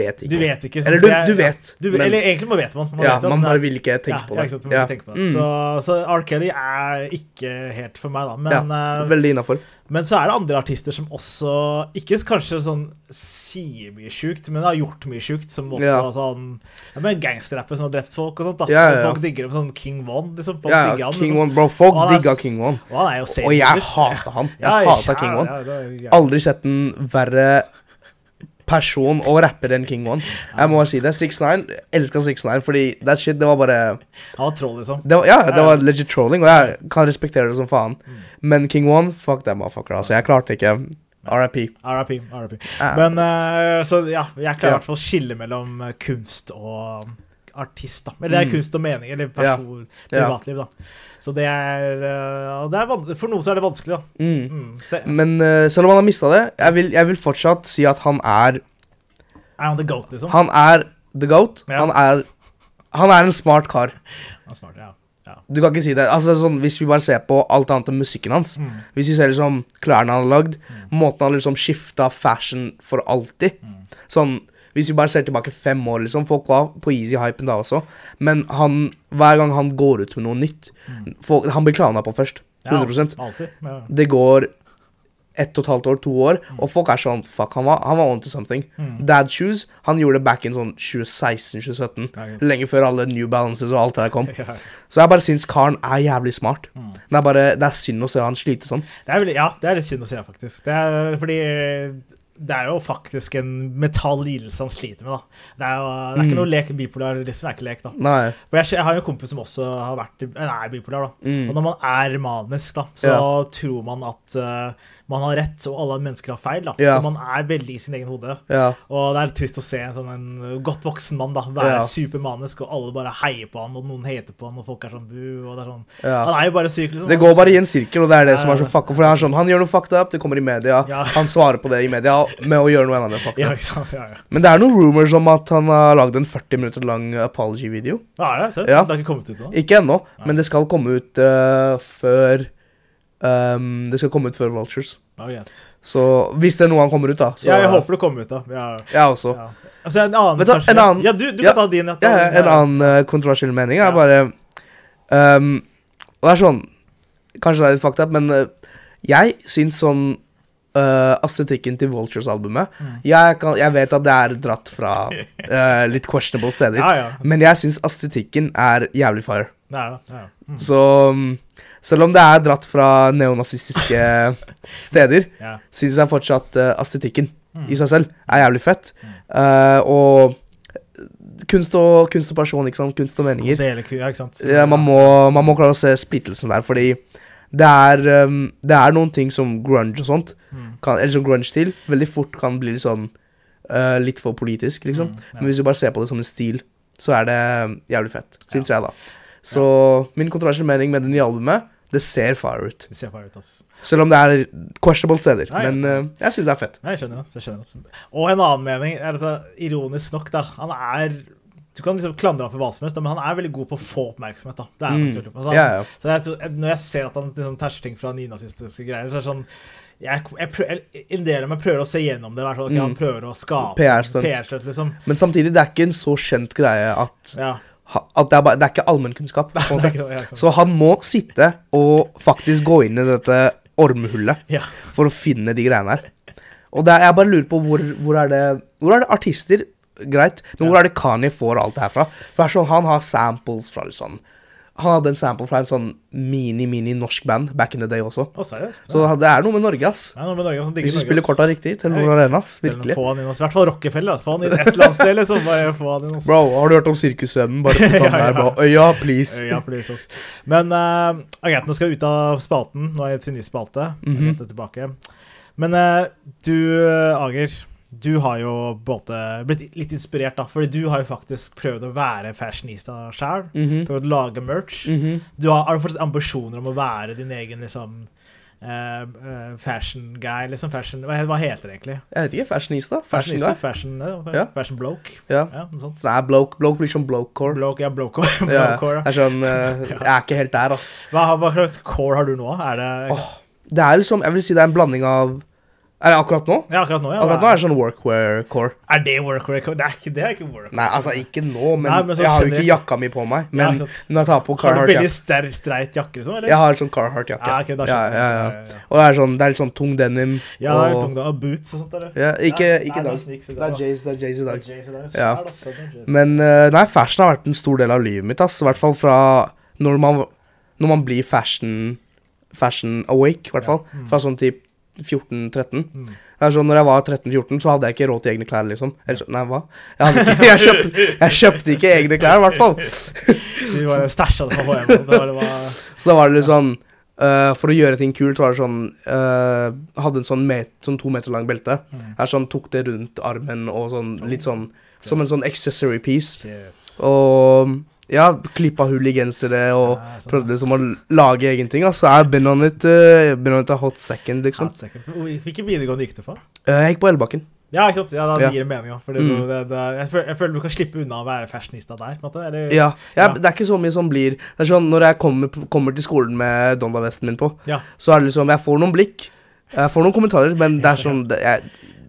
vet ikke. Du vet ikke. så Eller du- det er- du vet, Du, men- Eller egentlig man vet man. man Ja, vet om man det. bare vil ikke tenke ja, på ja, det. ikke sant, man vil Ja. tenke på det. Mm. Så, så R. Kelly er ikke helt for meg, da. Men, ja, eh, veldig innafor. men så er det andre artister som også ikke kanskje sånn sier mye sjukt, men har gjort mye sjukt, som også Ja. sånn ja, men Gangsterrappere som har drept folk og sånt. da Ja, ja, ja. Folk digger dem sånn King Von. Liksom. Folk Ja, digger han, King liksom. One, bro. Folk Og han er digga s- King One. Og han er jo Og jeg seriemorder. hater han. Ja, Jeg hater King ja, One. ja, det er- ja. Aldri sett en verre person og rapper enn King One. Jeg må bare si det. 6ix9ine. Elska 6ix9ine, fordi that shit, det var bare Han var troll, liksom. det var, Ja, det var legit trolling, og jeg kan respektere det som faen. Men King One, fuck that motherfucker, altså. Jeg klarte ikke. RIP. RIP. RIP. Ja. Men eh, så ja, jeg klarer i Ja. hvert fall å skille mellom eh, kunst og artist, da. Eller det er kunst og mening, eller person, Mm. Ja. privatliv, da. Så det er, eh, og det er van- For noen så er det vanskelig, da. Mm. Mm. Så, er Men eh, selv om han har mista det, jeg vil, jeg vil fortsatt si at han er han the goat, liksom? Han er the goat. Ja. Han er Han er en smart kar. Han er smart, ja. ja. Du kan ikke si det. Altså sånn, Hvis vi bare ser på alt annet enn musikken hans Hvis vi ser liksom klærne han har lagd, måten han liksom skifta fashion for alltid Sånn, Hvis vi bare ser tilbake fem år, liksom Folk var på easy-hypen da også. Men han, hver gang han går ut med noe nytt folk, Han blir klana på først. Ja, 100 Alltid. Ja. Det går ett og et halvt år, to år, Mm. og folk er sånn Fuck, han var, han var on to something. Dad shoes han gjorde det back in sånn 2016-2017. Ja, ja. Lenge før alle New Balances og alt det der kom. Ja. Mm. Så jeg bare syns karen er jævlig smart. Det, er bare, det er synd å se han slite sånn. Det er, veldig, ja, det er litt synd å se, faktisk. Det er, fordi det er jo faktisk en mental lidelse han sliter med, da. Det er, jo, det er ikke noe lek bipolar, liksom er ikke lek, da. Mm. Nei. For jeg, jeg har jo en kompis som også har vært eller er bipolar. da. Og når man er manisk, da, så Mm. Ja. tror man at eh, man har rett, og alle mennesker har feil. da. Ja. Så man er veldig i sin egen hode. Ja. Og det er trist å se en sånn en godt voksen mann da, være Ja. supermanisk, og alle bare heier på han, og noen heter på han, og folk er sånn bu. og det er sånn. Ja. Han er jo bare syk, liksom. Det går bare i en sirkel, og det er det som er Ja, så fucka. For han, er sånn, han gjør noe fucked up, det kommer i media. Ja. Han svarer på det i media med å gjøre noe enda mer fucked Ja, up. ikke sant? Ja, ja. Men det er noen rumors om at han har lagd en 40 minutter lang apology-video. Hva er det? Søtt? Ja. Det har ikke kommet ut nå? Ikke ennå, men det skal komme ut eh, før ehm, Det skal komme ut før Vultures. Ja, greit. Så hvis det er noe han kommer ut, da. Så, Ja, jeg håper det kommer ut, da. Ja. Jeg også. Ja. Altså, en annen, Vet du hva, kanskje- en annen- Ja, du, du Ja. kan ta din. jeg Ja, tar ja, min. en annen eh, kontroversiell mening Ja. er bare ehm, Og det er sånn Kanskje det er litt fucked up, men eh, jeg syns sånn eh, estetikken til Vultures-albumet Mm. jeg, kan- jeg vet at det er dratt fra eh, litt questionable steder, Ja, ja. men jeg syns estetikken er jævlig fire. Det er det, ja, ja. Mm, Så mm, selv om det er dratt fra neonazistiske steder, ja. syns jeg fortsatt uh, estetikken i seg selv er jævlig fett. Eh, og Eh, kunst og, kunst og person, ikke sant? Kunst og meninger. Dele ku- ja, ikke sant? Ja, Eh, man, må, man må klare å se splittelsen der, fordi det er, um, det er noen ting som grunge og sånt, kan, eller som grunge-stil, veldig fort kan bli litt sånn uh, litt for politisk, liksom. Men hvis du bare ser på det som en stil, så er det um, jævlig fett, syns jeg, da. Så min kontroversielle mening med det nye albumet, det ser fire ut. Det ser far ut, ass. Selv om det er questionable steder. Ja, ja. Men uh, jeg syns det er fett. Nei, jeg skjønner, ass. jeg skjønner ass. Og en annen mening er at det er ironisk nok, da. Han er Du kan liksom klandre ham for hva som helst, da, men han er veldig god på å få oppmerksomhet. da. Det er han selvfølgelig. Altså, han- Ja, ja. Så jeg, tror- når jeg ser at han liksom, terser ting fra nynazistiske greier, så er det sånn jeg, jeg prøver, En del av meg prøver å se gjennom det. i hvert fall, ok, Han prøver å skape PR-stunt. PR-stunt, liksom. Men samtidig, det er ikke en så kjent greie at Ja. ha- At det er, bare, det er ikke allmennkunnskap. på en måte. det er ikke det, ja, sånn. Så han må sitte og faktisk gå inn i dette ormehullet Ja. for å finne de greiene her. Og det er, jeg bare lurer på hvor, hvor, er det, hvor er det artister Greit, men hvor er det Kanye får alt det her fra? For det er sånn, Han har samples fra litt sånn Han hadde en sample fra en sånn mini-mini norsk band back in the day også. Å, seriøst? Så det er noe med Norge, ass. Nei, nå med Norge, sånn, digger Hvis du Norge, spiller ass. korta riktig, Telenor Ja, Arena, ass. Eller Virkelig. Få han inn hos, I hvert fall Rockefeller. da. Få han inn et eller annet sted, liksom. Bare få han inn hos. Bro, har du hørt om sirkusvennen? Bare putt han Ja, ja. der. Bare, Øya, please. Ja, for det er sånn. Men eh, ok, nå skal jeg ut av spalten. Nå er jeg til ny spalte. Jeg Mhm. venter tilbake. Men eh, du, Ager, du har jo både blitt litt inspirert, da. Fordi du har jo faktisk prøvd å være fashionista sjøl. Mhm. Prøvd å lage merch. Du har, har du fortsatt ambisjoner om å være din egen liksom eh, eh, fashion guy, liksom fashion Hva, he- hva heter det egentlig? Jeg vet ikke. Fashionista? Fashion Fashionista? guy? Fashion, eh, Ja. fashion bloke? Ja. Ja, noe sånt. Nei, bloke, bloke blir sånn bloke-core. Bloke, ja, bloke, bloke, Ja, core, det ja. er sånn eh, Jeg er ikke helt der, ass. Hva, hva slags core har du nå? Er det Det er liksom Jeg vil si det er en blanding av Er det akkurat nå? Ja, akkurat nå, ja. Akkurat nå er det sånn workwear-core. Er det work record? Det er ikke det. er ikke work Nei, altså ikke nå, men, Nei, men så jeg har jo generelt- ikke jakka mi på meg. Ja, Men ikke sant. når jeg tar på Har du veldig Carhartt-jakke ster, streit jakke, liksom? Eller? Jeg har en sånn Carhartt-jakke. Ja, ok, da skjønner ja, jeg. ja, ja. Ja, ja, ja. Og det er sånn Det er litt sånn tung denim. Ja, det er og, tungt, da. Og boots og sånt. Eller? ja, ikke Nei, nei, ikke i det er dag. sneaks i Det dag, er Jays det er Jays i da. dag. Jays i dag. Ja. Er det også noen Jays? Men eh, nei, fashion har vært en stor del av livet mitt, ass. I hvert fall fra når man, når man blir fashion, fashion awake, i hvert fall. Fra sånn typ 14-13. Det er sånn, når jeg var 13-14, så hadde jeg ikke råd til egne klær, liksom. Eller, så- nei, hva? Jeg, hadde ikke, jeg, kjøpte, jeg kjøpte ikke egne klær, i hvert fall. Vi bare stæsja det fra HM. og Det var, det var, Så da var det litt sånn eh, For å gjøre ting kult, var det sånn eh, Hadde en sånn, met, sånn to meter lang belte. Jeg sånn, tok det rundt armen og sånn litt sånn Som en sånn accessory piece. Og ja, klippa hull i gensere og sånn, prøvde som å lage egen ting. Altså, jeg been on it, eh, been on it a hot second, liksom. Hot seconds. Hvor- Hvilken videregående gikk du på? Eh, jeg gikk på Elbakken. Ja, ikke sant? Ja, da Ja. Mm. gir det mening. da, Fordi du, det, det, jeg, føler, jeg føler du kan slippe unna å være fashionista der. på en måte, Eller, Ja, jeg, Ja. Det er ikke så mye som blir Det er sånn Når jeg kommer, kommer til skolen med Donda-vesten min på, Ja. så er det liksom Jeg får noen blikk, jeg får noen kommentarer, men det er sånn Det, jeg,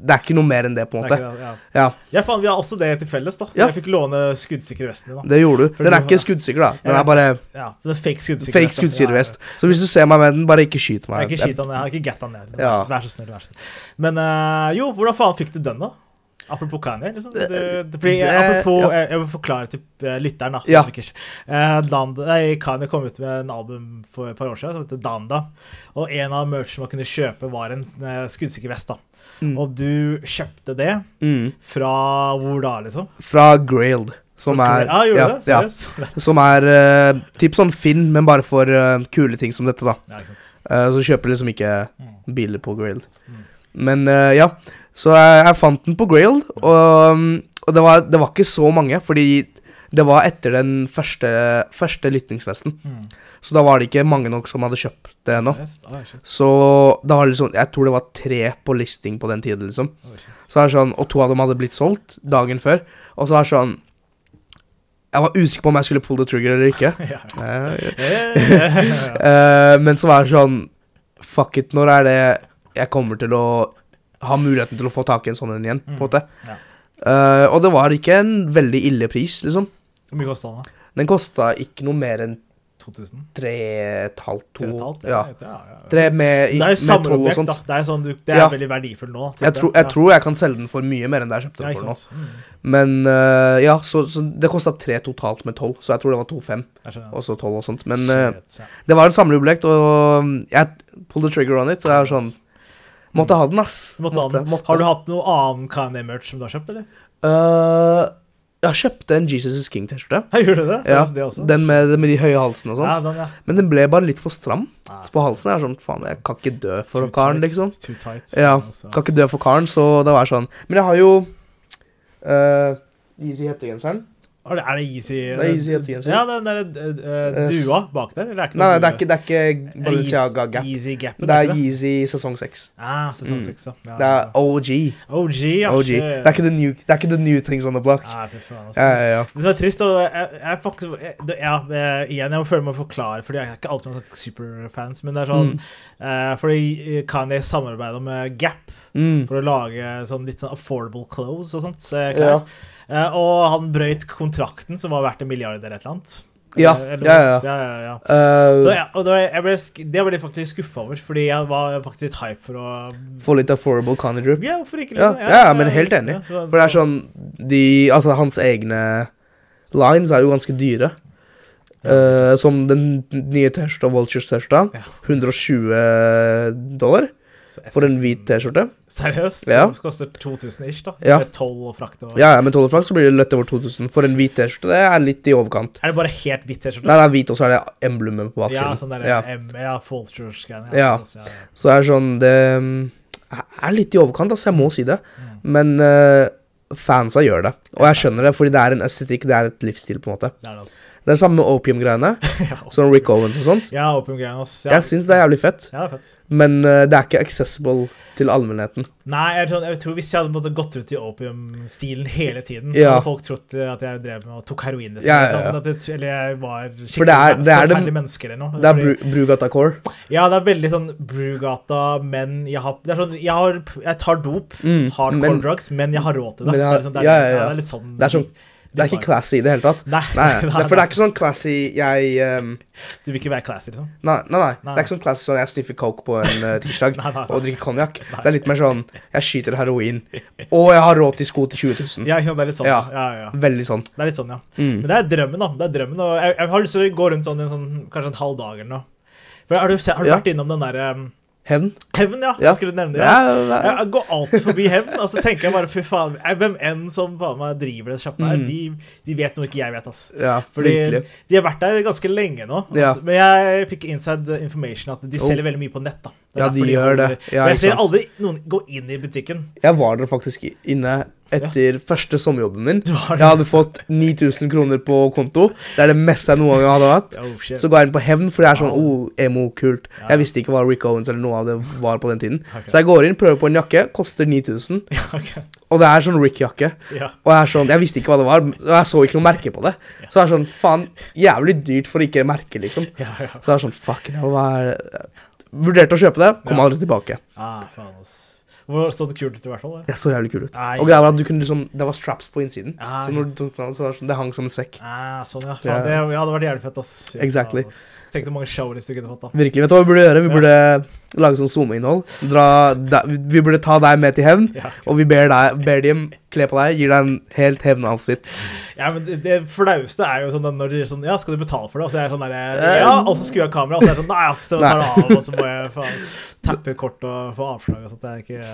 det er ikke noe mer enn det, på en Det er måte. ikke det, ja. Ja, ja, faen, vi har også det til felles. da. Ja. Jeg fikk låne skuddsikker vesten din. da. det gjorde du. For Den du er ikke har- skuddsikker, da. Den Ja. er bare Ja, det er Fake skuddsikker fake vest, da. Ja, ja, skuddsikker ja. vest. Så hvis du ser meg med den, bare ikke Jeg skyt har meg. ikke skit han ned. Jeg har ikke gett han ned. Ja. Vær, så- vær så snill. vær så snill. Men eh, jo, hvordan faen fikk du den, da? Apropos Kanye. liksom. Det, det, fordi, det- apropos, ja. jeg, jeg vil forklare til eh, lytteren. da. som Ja. ikke- Eh, Danda, nei, Kanye kom ut med en album for et par år siden som heter Danda. Og en av merchene man kunne kjøpe, var en eh, skuddsikker vest. da. Mm. Og du kjøpte det fra hvor da, liksom? Fra Grailed, som er ja, gjorde ja, du det? ja. Seriøst? Ja. Som er eh, typ sånn Finn, men bare for eh, kule ting som dette, da. ikke sant. Eh, så kjøper jeg liksom ikke biler på Grailed. Men eh, ja, så jeg, jeg fant den på Grailed, og, um, og det, var, det var ikke så mange, fordi det var etter den første, første lytningsfesten. Så da var det ikke mange nok som hadde kjøpt det ennå. Seriøst? Ah, shit. Så da var det liksom, jeg tror det var tre på listing på den tiden, liksom. Oi, shit. Så er det sånn, Og to av dem hadde blitt solgt dagen før. Og så er det sånn Jeg var usikker på om jeg skulle pull the trigger eller ikke. Eh, Eh, Eh, men så var det sånn Fuck it, når er det jeg kommer til å ha muligheten til å få tak i en sånn en igjen? på en måte Mm. ja. Eh, Og det var ikke en veldig ille pris, liksom. Hvor mye kosta den? da? Den kosta ikke noe mer enn 2000? tre et halvt, to 3,5? Ja. ja, ja. Tre med, i, Det er jo med toll og samleobjekt, da. sånt. Det er, sånn, du, det er Ja. veldig verdifullt nå. Jeg, tror- jeg tror jeg kan selge den for mye mer enn det jeg kjøpte Ja, den ikke altså. for nå. sant. Mm, Men eh, ja, så, så det kosta tre totalt med tolv, så jeg tror det var to-fem. jeg skjønner. Og så tolv og sånt. Men eh, sånn- Shit, ja. det var en samleobjekt, og um, jeg pulled the trigger on it. Og jeg var sånn Måtte ha den, ass. Måtte han- måtte. Har du hatt noe annen KNM-merch som du har kjøpt, eller? Øh, Jeg kjøpte en Jesus is King-T-skjorte. Jeg gjorde det? Ja, Seriøst, det også? den sånn. med, med de høye halsene og ja, sånt. den, ja. Men den ble bare litt for stram på halsen. Jeg er sånn, faen, jeg kan ikke dø for Too karen, tight. liksom. Too tight. Ja, Altså, kan ikke dø for karen, så det var sånn. Men jeg har jo eh, Easy hettegenseren. Er det, er det easy Det er easy hettegenser. Ja, den der eh, eh, Eh, dua bak der? Eller er ikke Nei, nei, det noe er ikke, det er ikke due? Balenciaga Gap. Easy, easy gapen, Det er ikke Yeezy sesong 6. Ah, sesong Mm. seks, ja. ja. Det er OG. OG, ja. OG. shit. Det er ikke the new, det er ikke the new things on the block. Ah, fy faen, altså. Ja, ja, ja. Men Det er trist, og jeg, jeg er faktisk jeg, det- ja, eh, Igjen, jeg må føle meg forklare, Fordi jeg er ikke alltid noen sånn superfans. Men det er sånn eh, Fordi eh, Kanye samarbeider med Gap Mm. for å lage sånn litt sånn affordable clothes og sånt. eh, Ja. klær. Eh, og han brøyt kontrakten, som var verdt en milliard eller et eller annet. Ja, Eh, eller ja, noe sånt. ja. ja, ja, ja. Eh, Så, ja, og det, var, jeg ble, sk- det ble jeg faktisk skuffa over, fordi jeg var faktisk litt hype for å Få litt affordable Kanye drip. Ja, hvorfor ikke? Ja, liksom? ja, ja, men helt enig. ja, så- For det er sånn de, Altså, hans egne lines er jo ganske dyre. Eh, som den nye T-skjorta, Vultures T-skjorta. Ja. 120 dollar så for en 1000 hvit T-skjorte. Seriøst? Ja. Som koster 2000 ish, da? Ja. Med toll og frakt og Ja, ja, med tolvfrakk så blir det lett over 2000. For en hvit T-skjorte, det er litt i overkant. Er det bare helt hvitt T-skjorte? Nei, det er hvit, og så er det emblemet Ja, på baksiden. sånn der ja. M, ja, Folters-greiene. Ja. sånn, ja, ja. Så er det sånn Det mm, er litt i overkant, altså. Jeg må si det. Mm. Men eh, fansa gjør det. Og jeg skjønner det, fordi det er en estetikk, det er et livsstil, på en måte. Det er det, altså. Det er det samme med opium-greiene. Ja, Sånn Rick Owens og sånt. ja opium-greiene, ass. Ja. Jeg syns det er jævlig fett, ja, det er fett. men eh, det er ikke accessible til allmennheten. Nei, jeg tror, jeg tror hvis jeg hadde på en måte gått ut i opium-stilen hele tiden, så Ja. hadde folk trodd eh, at jeg drev med og tok heroin. Liksom, Ja, ja, ja. Sånn at jeg- Eller jeg var skikkelig det er- det er det- forferdelig menneske eller noe. Det er Fordi- Bru- Brugata Core. Ja, det er veldig sånn Brugata, men jeg har Det er sånn, jeg, har, jeg tar dop, hardcore Mm, men- drugs, men jeg har råd til det. Men jeg det, har- er sånn, det, er, ja, ja, ja. det er litt sånn Det er sånn- Det er ikke classy i det hele tatt. Nei, Nei, det er- for det er ikke sånn classy jeg ehm, Du vil ikke være classy, liksom? nei, nei, nei, det Nei. er ikke sånn classy sånn jeg sniffer coke på en eh, tirsdag Nei, nei, nei. og drikker konjakk. Det er litt mer sånn jeg skyter heroin, og jeg har råd til sko til 20 000. Ja, ikke sant, det er litt sånn. Ja. Ja. Ja, ja, Veldig sånn. Det er litt sånn, ja. Men det er drømmen, da. Det er drømmen, og jeg, jeg har lyst til å gå rundt sånn i en sånn, kanskje en halv dag eller noe. For Har du, se- har du Ja. vært innom den derre um, Hevn. Hevn, ja. Ja. Jeg skulle nevne det. Ja, Ja. ja, ja. Jeg går alltid forbi hevn, og så tenker jeg bare fy faen jeg- Hvem enn som faen meg driver det sjappa her, de, de vet noe ikke jeg vet, ass. Mm. ja Fordi virkelig. De har vært der ganske lenge nå. Altså, Ja. Men jeg fikk inside information at de Oh. selger veldig mye på nett. da Det er Ja, de derfor gjør holder- det. Ja, Og Jeg ikke ser sant. aldri noen gå inn i butikken. Jeg var der faktisk inne etter første sommerjobben min. var Jeg hadde fått 9000 kroner på konto. Det er det meste jeg noen gang hadde hatt. Oh, shit. Så ga jeg inn på hevn, for det er sånn Wow. oh, emo, kult. Ja. Jeg visste ikke hva Rick Owens eller noe av det var på den tiden. Så jeg går inn, prøver på en jakke, koster 9000. Ja, ok. Og det er sånn Rick-jakke. ja. Og jeg er sånn, jeg visste ikke hva det var, og jeg så ikke noe merke på det. Så jeg er sånn, faen, jævlig dyrt for å ikke merke, liksom. Ja, ja. Så jeg er sånn, fucking hell, hva er det? Vurderte å kjøpe det, kom Ja. aldri tilbake. Ah, faen, ass. Hvor så det kult ut, i hvert fall. det. Jeg så jævlig kul ut. Nei. Og greia var at du kunne liksom, det var straps på innsiden. Nei. Så når du tok den av, så var det sånn, det hang som en sekk. Ah, sånn, ja. Ja. Faen, det, ja, det hadde vært jævlig fett. ass Fy faen, Exactly. ass. Tenk hvor mange showers du kunne fått. da Virkelig, vet du hva vi burde gjøre? Vi Ja. burde lage sånn SoMe-innhold. Dra deg- Vi burde ta deg med til hevn, Ja. og vi ber, deg, ber dem kle på deg, gir deg en helt hevn-outfit. Ja, men Det, det flaueste er jo sånn den når de sier sånn Ja, skal du betale for det? Og så er jeg sånn Eh, der, ja, og så skrur jeg kameraet, og så er jeg sånn Nei, ass, så tar det av, og så må jeg faen tappe kort og få avslag. Og sånt. Det er ikke,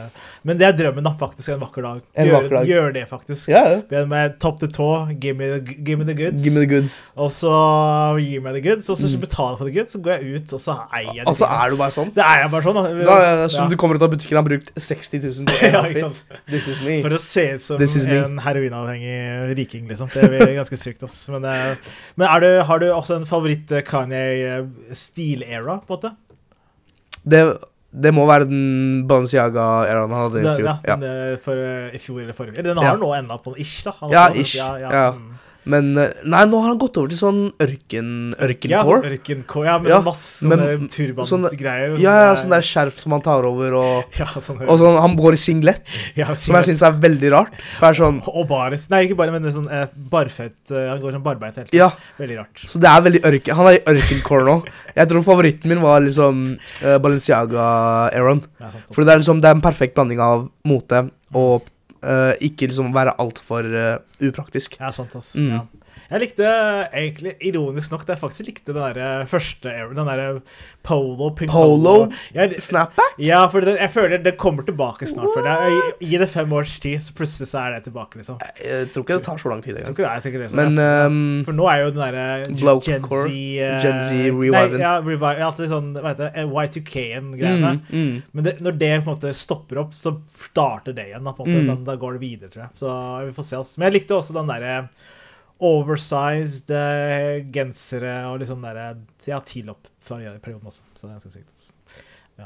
men det er drømmen, da, faktisk. En vakker dag. En Gjøre- vakker dag. Gjøre det, faktisk. Ja, ja. Be meg topp til tå, give me, the- give me the goods. Give me the goods. Og så gir meg the goods, og så betaler jeg for the goods, så går jeg ut, og så eier jeg det. Og så er du bare sånn. det er jeg bare sånn. Da, Da, er det som du kommer ut av butikken og har brukt 60 000 på en Ja, ikke outfit. sant. This is me. For å se ut som This is me. en heroinavhengig riking, liksom. Det blir ganske sykt, ass. Men, eh, men er du, har du også en eh, favoritt-Kanye-stil-era, eh, på en måte? Det, det må være den Balenciaga-eraen han hadde i Den, fjor. ja, Ja. den, eh, for, eh, I fjor eller forrige. Eller den Ja. har jo nå enda på ish, da. Han har Ja, på- ish. Ja. mm. Men eh, nei, nå har han gått over til sånn ørken... Ja, sånn Ørkencore. ørkencore. Ja, men Ja, masse men sånne sånn- turbangreier. Ja, ja, sånn der skjerf som han tar over, og, Ja, sånn og sånn, han går i singlet, ja, som jeg syns er veldig rart. For det er sånn Og baris. Nei, ikke bare, men det er sånn eh, barføtt eh, Han går som barbeint hele tiden. Ja, Veldig rart. så det er veldig ørken. Han er i ørkencore nå. Jeg tror favoritten min var liksom eh, Balenciaga-eraen. Ja, sant, For det er liksom, det er en perfekt blanding av mote og eh, ikke liksom være altfor uh, upraktisk. Ja, sant, ass. Mm. Ja. Jeg likte egentlig, ironisk nok, det jeg faktisk likte den der eh, første era, den der eh, polo, pink Polo? Jeg- Snapback? Ja, for den, jeg føler den kommer tilbake snart. For det. I, I det fem års tid, så plutselig så er det tilbake, liksom. Jeg Jeg Eh, tror ikke det tar så lang tid tror engang. ikke det, jeg tenker det er sånn. Men ehm, for nå er jo den derre Bloke Gen Z core. eh, Gen Z Nei, reviven. ja, revive, alltid sånn hva heter det, Y2K-en greiene. Mm, Men det, når det på en måte stopper opp, så starter det igjen. Da, på en Mm. måte. Men da går det videre, tror jeg. Så vi får se. Altså. Men jeg likte også den derre oversized eh, gensere og liksom derre Ja, tillopp fra perioden også. Så det er ganske sykt. Altså. Ja.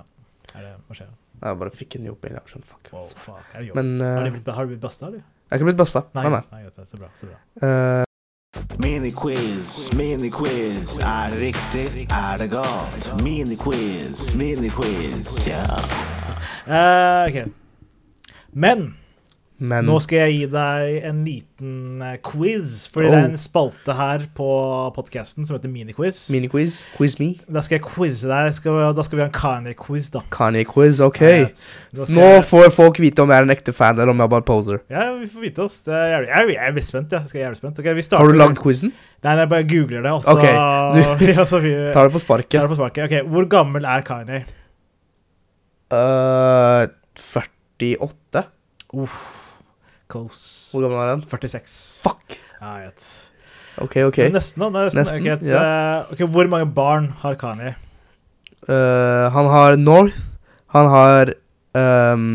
Er det, hva skjer? Jeg bare fikk en jobb. Jeg, var sånn, fuck. Wow, fuck. Er det jobb? Men eh, har du blitt, har du blitt basta, eller? jeg er ikke blitt busta. Nei, nei. greit. greit, det er så bra. Så bra. Eh, Miniquiz, miniquiz. Er det riktig? Er det galt? Miniquiz, miniquiz. Ja. Eh, ok. Men men Nå skal jeg gi deg en liten eh, quiz, fordi det er Oh. en spalte her på podkasten som heter Miniquiz. miniquiz, quiz me, Da skal jeg quize deg. Jeg Skal, da skal vi ha en Kanye-quiz, da. Eh, Kanye-quiz, OK. Da skal Nå jeg- får folk vite om jeg er en ekte fan, eller om jeg bare poser. Ja, vi får vite oss. Det er jævlig, jeg, er- jeg er litt spent, ja. Skal jeg er jævlig spent. Ok, vi starter. Har du lagd quizen? Nei, nei, jeg bare googler det, og så Ok, du- ja, så vi- Tar det på tar det sparket. på sparket. Ok, Hvor gammel er Kanye? Eh, 48? Uff. Close. Hvor gammel er den? 46. Fuck! Ja, jeg vet. OK, OK. Men Nesten, da. Nesten. Nesten, ok, et, ja. eh, ok, Hvor mange barn har Kanye? Eh, han har North, han har ehm,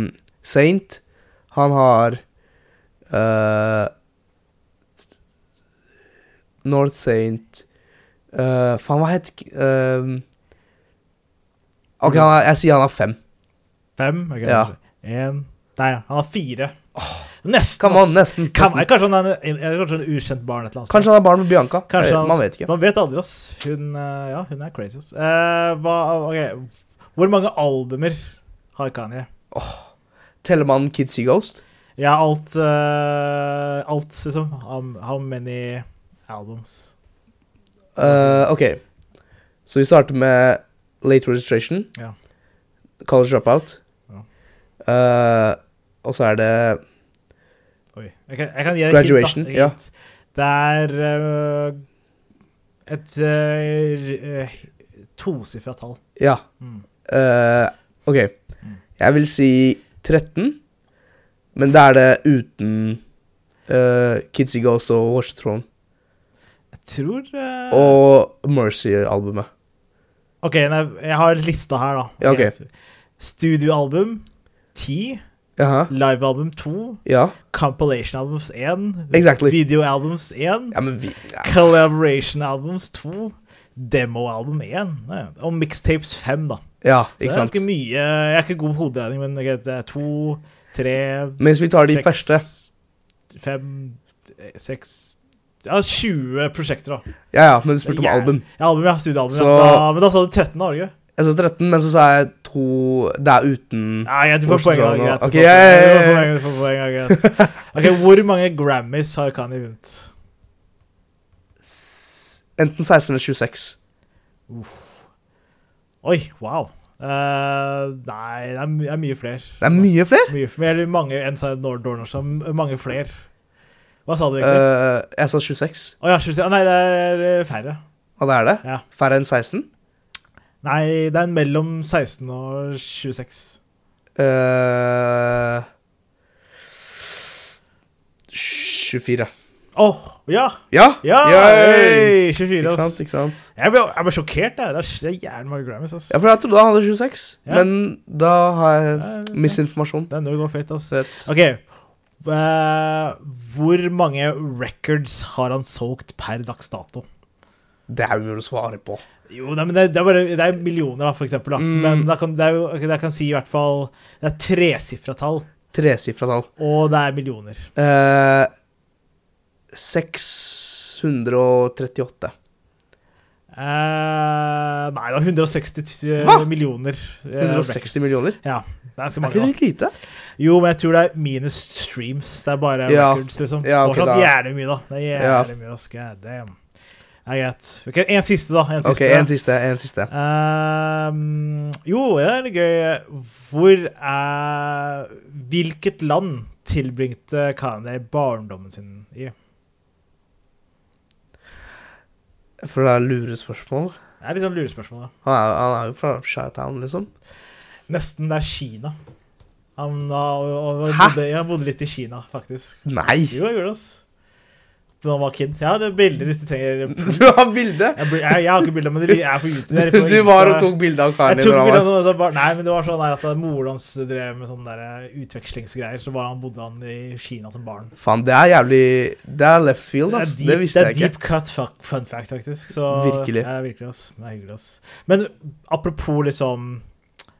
Saint, han har eh, North Saint eh, Faen, hva heter k- ehm, Ok, han har, jeg sier han har fem. Fem? ok, Ja. En Nei, han har fire. nesten. Come on, ass. nesten. Kan, nesten. kanskje han er en, en, en- kanskje en ukjent barn et eller annet sted. Kanskje han har barn med Bianca. Kanskje Eh, han- man vet ikke. Man vet aldri, ass. Hun, eh, ja, hun er crazy, ass. Eh, hva, ok, Hvor mange albumer har Kanye? Teller man Kids See Ghost? Ja, alt eh, Alt, liksom. How, how many albums? Eh, ok, så vi starter med Late Registration, Ja. College Dropout, eh, og så er det Oi. Jeg kan, jeg kan gi deg Graduation, hint, da. ja. Hint. Det er eh, et eh, r- eh, tosifra tall. Ja. Mm. Eh, ok. Jeg vil si 13, men da er det uten uh, Kids See Ghost og Watch the Throne. Jeg tror eh, Og Mercy-albumet. Ok, nei, jeg har lista her, da. Ja, ok. Studioalbum ti, Jaha. livealbum to, Ja. compilation albums én, Exactly. videoalbums én, ja, men vi ja. collaboration albums to, demoalbum én, ja, og mixtapes fem, da. ja, Det ikke er sant. ganske mye. Jeg er ikke god på hoderegning, men ok, det er to, tre Mens vi tar de seks, første Fem, eh, seks Ja, 20 prosjekter, da. Ja, ja, men du spurte om Jævlig- album. Ja, album, ja. Studioalbum. Så- Ja. Da, men da sa du 13, da, var det ikke? Jeg sa 13, men så sa jeg to Det er uten Nei, jeg får Hvorfor poeng tror av han greit. du nå? får Ok, poeng, ja, ja, ja, du får ja. poeng, du får poeng, ja, greit. Ok, Hvor mange Grammys har Kanye vunnet? Enten 16 eller 26. Oi, wow. Eh, nei, det er, my det er mye flere. Det er mye flere! Mye, f- eller mange enn sa Nord Dornorsen. Mange flere. Hva sa du egentlig? Eh, jeg sa 26. Å ja, 26. Nei, det er eh, færre. Og det er det? Ja. Færre enn 16? Nei, det er mellom 16 og 26. Eh, 24. Åh, ja! Ja! Ja! Yay! Hey, 24, Ikke ass. sant, ikke sant. Jeg ble, jeg ble sjokkert. Jeg. Det er det er jævlig mange Grammys. ass. Ja, for jeg trodde han hadde 26, Ja. men da Ja, har ja. jeg misinformasjon. Det er noe fett, ass. Så et- Ok. eh, hvor mange records har han solgt per dags dato? Det er umulig å svare på. Jo, nei, men det, det, er bare, det er millioner, da, for eksempel. Da. Mm. Men da kan, det er jo, ok, jeg kan si i hvert fall Det er tresifra tall, Tresifra tall. og det er millioner. Eh, 638. Eh, nei, det er 160 Hva? millioner. eh, 160 millioner? records. Ja, det er ganske Er ikke mange. det Da. litt lite? Jo, men jeg tror det er minus streams. Det er bare Ja. records, liksom. Ja, ok, Fortsatt da. jævlig mye, da. Det er Ja. jævlig mye, ass. God damn. Det er greit. Ok, en siste, da. En siste. Ok, en siste. En siste. Ehm, jo, det er litt gøy. Hvor er Hvilket land tilbringte Kanye barndommen sin i? Fra lurespørsmål. Det er litt sånn lurespørsmål, da. Han er, han er jo fra Shatown, liksom. Nesten det er Kina. Han, har- og, og, Hæ? Bodde, jeg bodde litt i Kina, faktisk. Nei! Jo, jeg gjorde det, ass. Da han var kid. Jeg har bilder hvis du trenger jeg, Du har bilde! blir- jeg, jeg har ikke bilder, men de er på YouTube. de er på Du var og Insta. tok bilde av Jeg karen din. tok når bilder han av var- noen som bare, nei, men det var sånn der at Moren hans drev med sånne der eh, utvekslingsgreier. Så var han, bodde han i Kina som barn. Faen, det er jævlig Det er left field, Det er ass. deep, Det visste det er jeg deep ikke. cut fuck, fun fact, faktisk. Så, Virkelig. Ja, virkelig ass. Det er hyggelig, ass. Men apropos liksom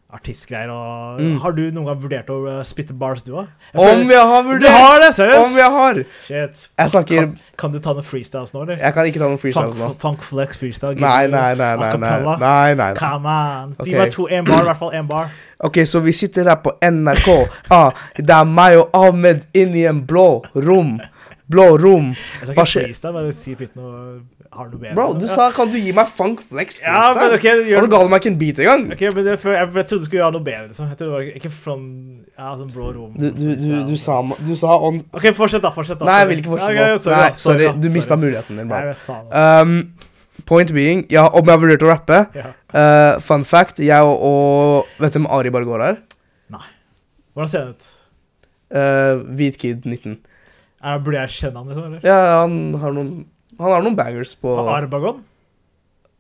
artistgreier og Mm. Har du noen gang vurdert å eh, spytte bars, du òg? Om jeg har Du vurdert! har det, seriøst? Om jeg har! Shit. Jeg snakker Kan, kan du ta noen freestyles nå, eller? Jeg kan ikke ta noen freestyles nå. Funk, funk flex freestyle. give Nei, me nei, nei. nei, nei, acapella. nei, nei, nei. Come on. Gi Ok. meg to, én bar, i hvert fall. Én bar. Ok, så vi sitter her på NRK. Ah, det er meg og Ahmed inni en blå rom. Blå rom. Jeg skal ikke Hva skjer? freestyle, men si fritt noe Har du bedre? Bro, du Ja. sa 'kan du gi meg funk flex'? Ja, freestyle?" men ok, du gjør- Og så ga du meg ikke en beat engang. Ok, men det, for, jeg, jeg trodde du skulle gjøre noe bedre. Liksom. Jeg trodde det var ikke from, ja, sånn blå rom. Du, du, du, du, sa, du sa on Ok, fortsett, da. fortsett da Nei, jeg vil ikke fortsette Ja, ok, nå. sorry, Nei, da, sorry, da, du mista muligheten din. Nei, Jeg Bro. vet faen. altså. da. Um, point being, ja, om jeg har vurdert å rappe Ja. eh, Fun fact, jeg og, og Vet du hvem Ari Bargor er? Nei. Hvordan ser han ut? Eh, hvit kid 19. Er, burde jeg kjenne han, liksom? eller? Ja, han har noen Han har noen bangers på Arbagon?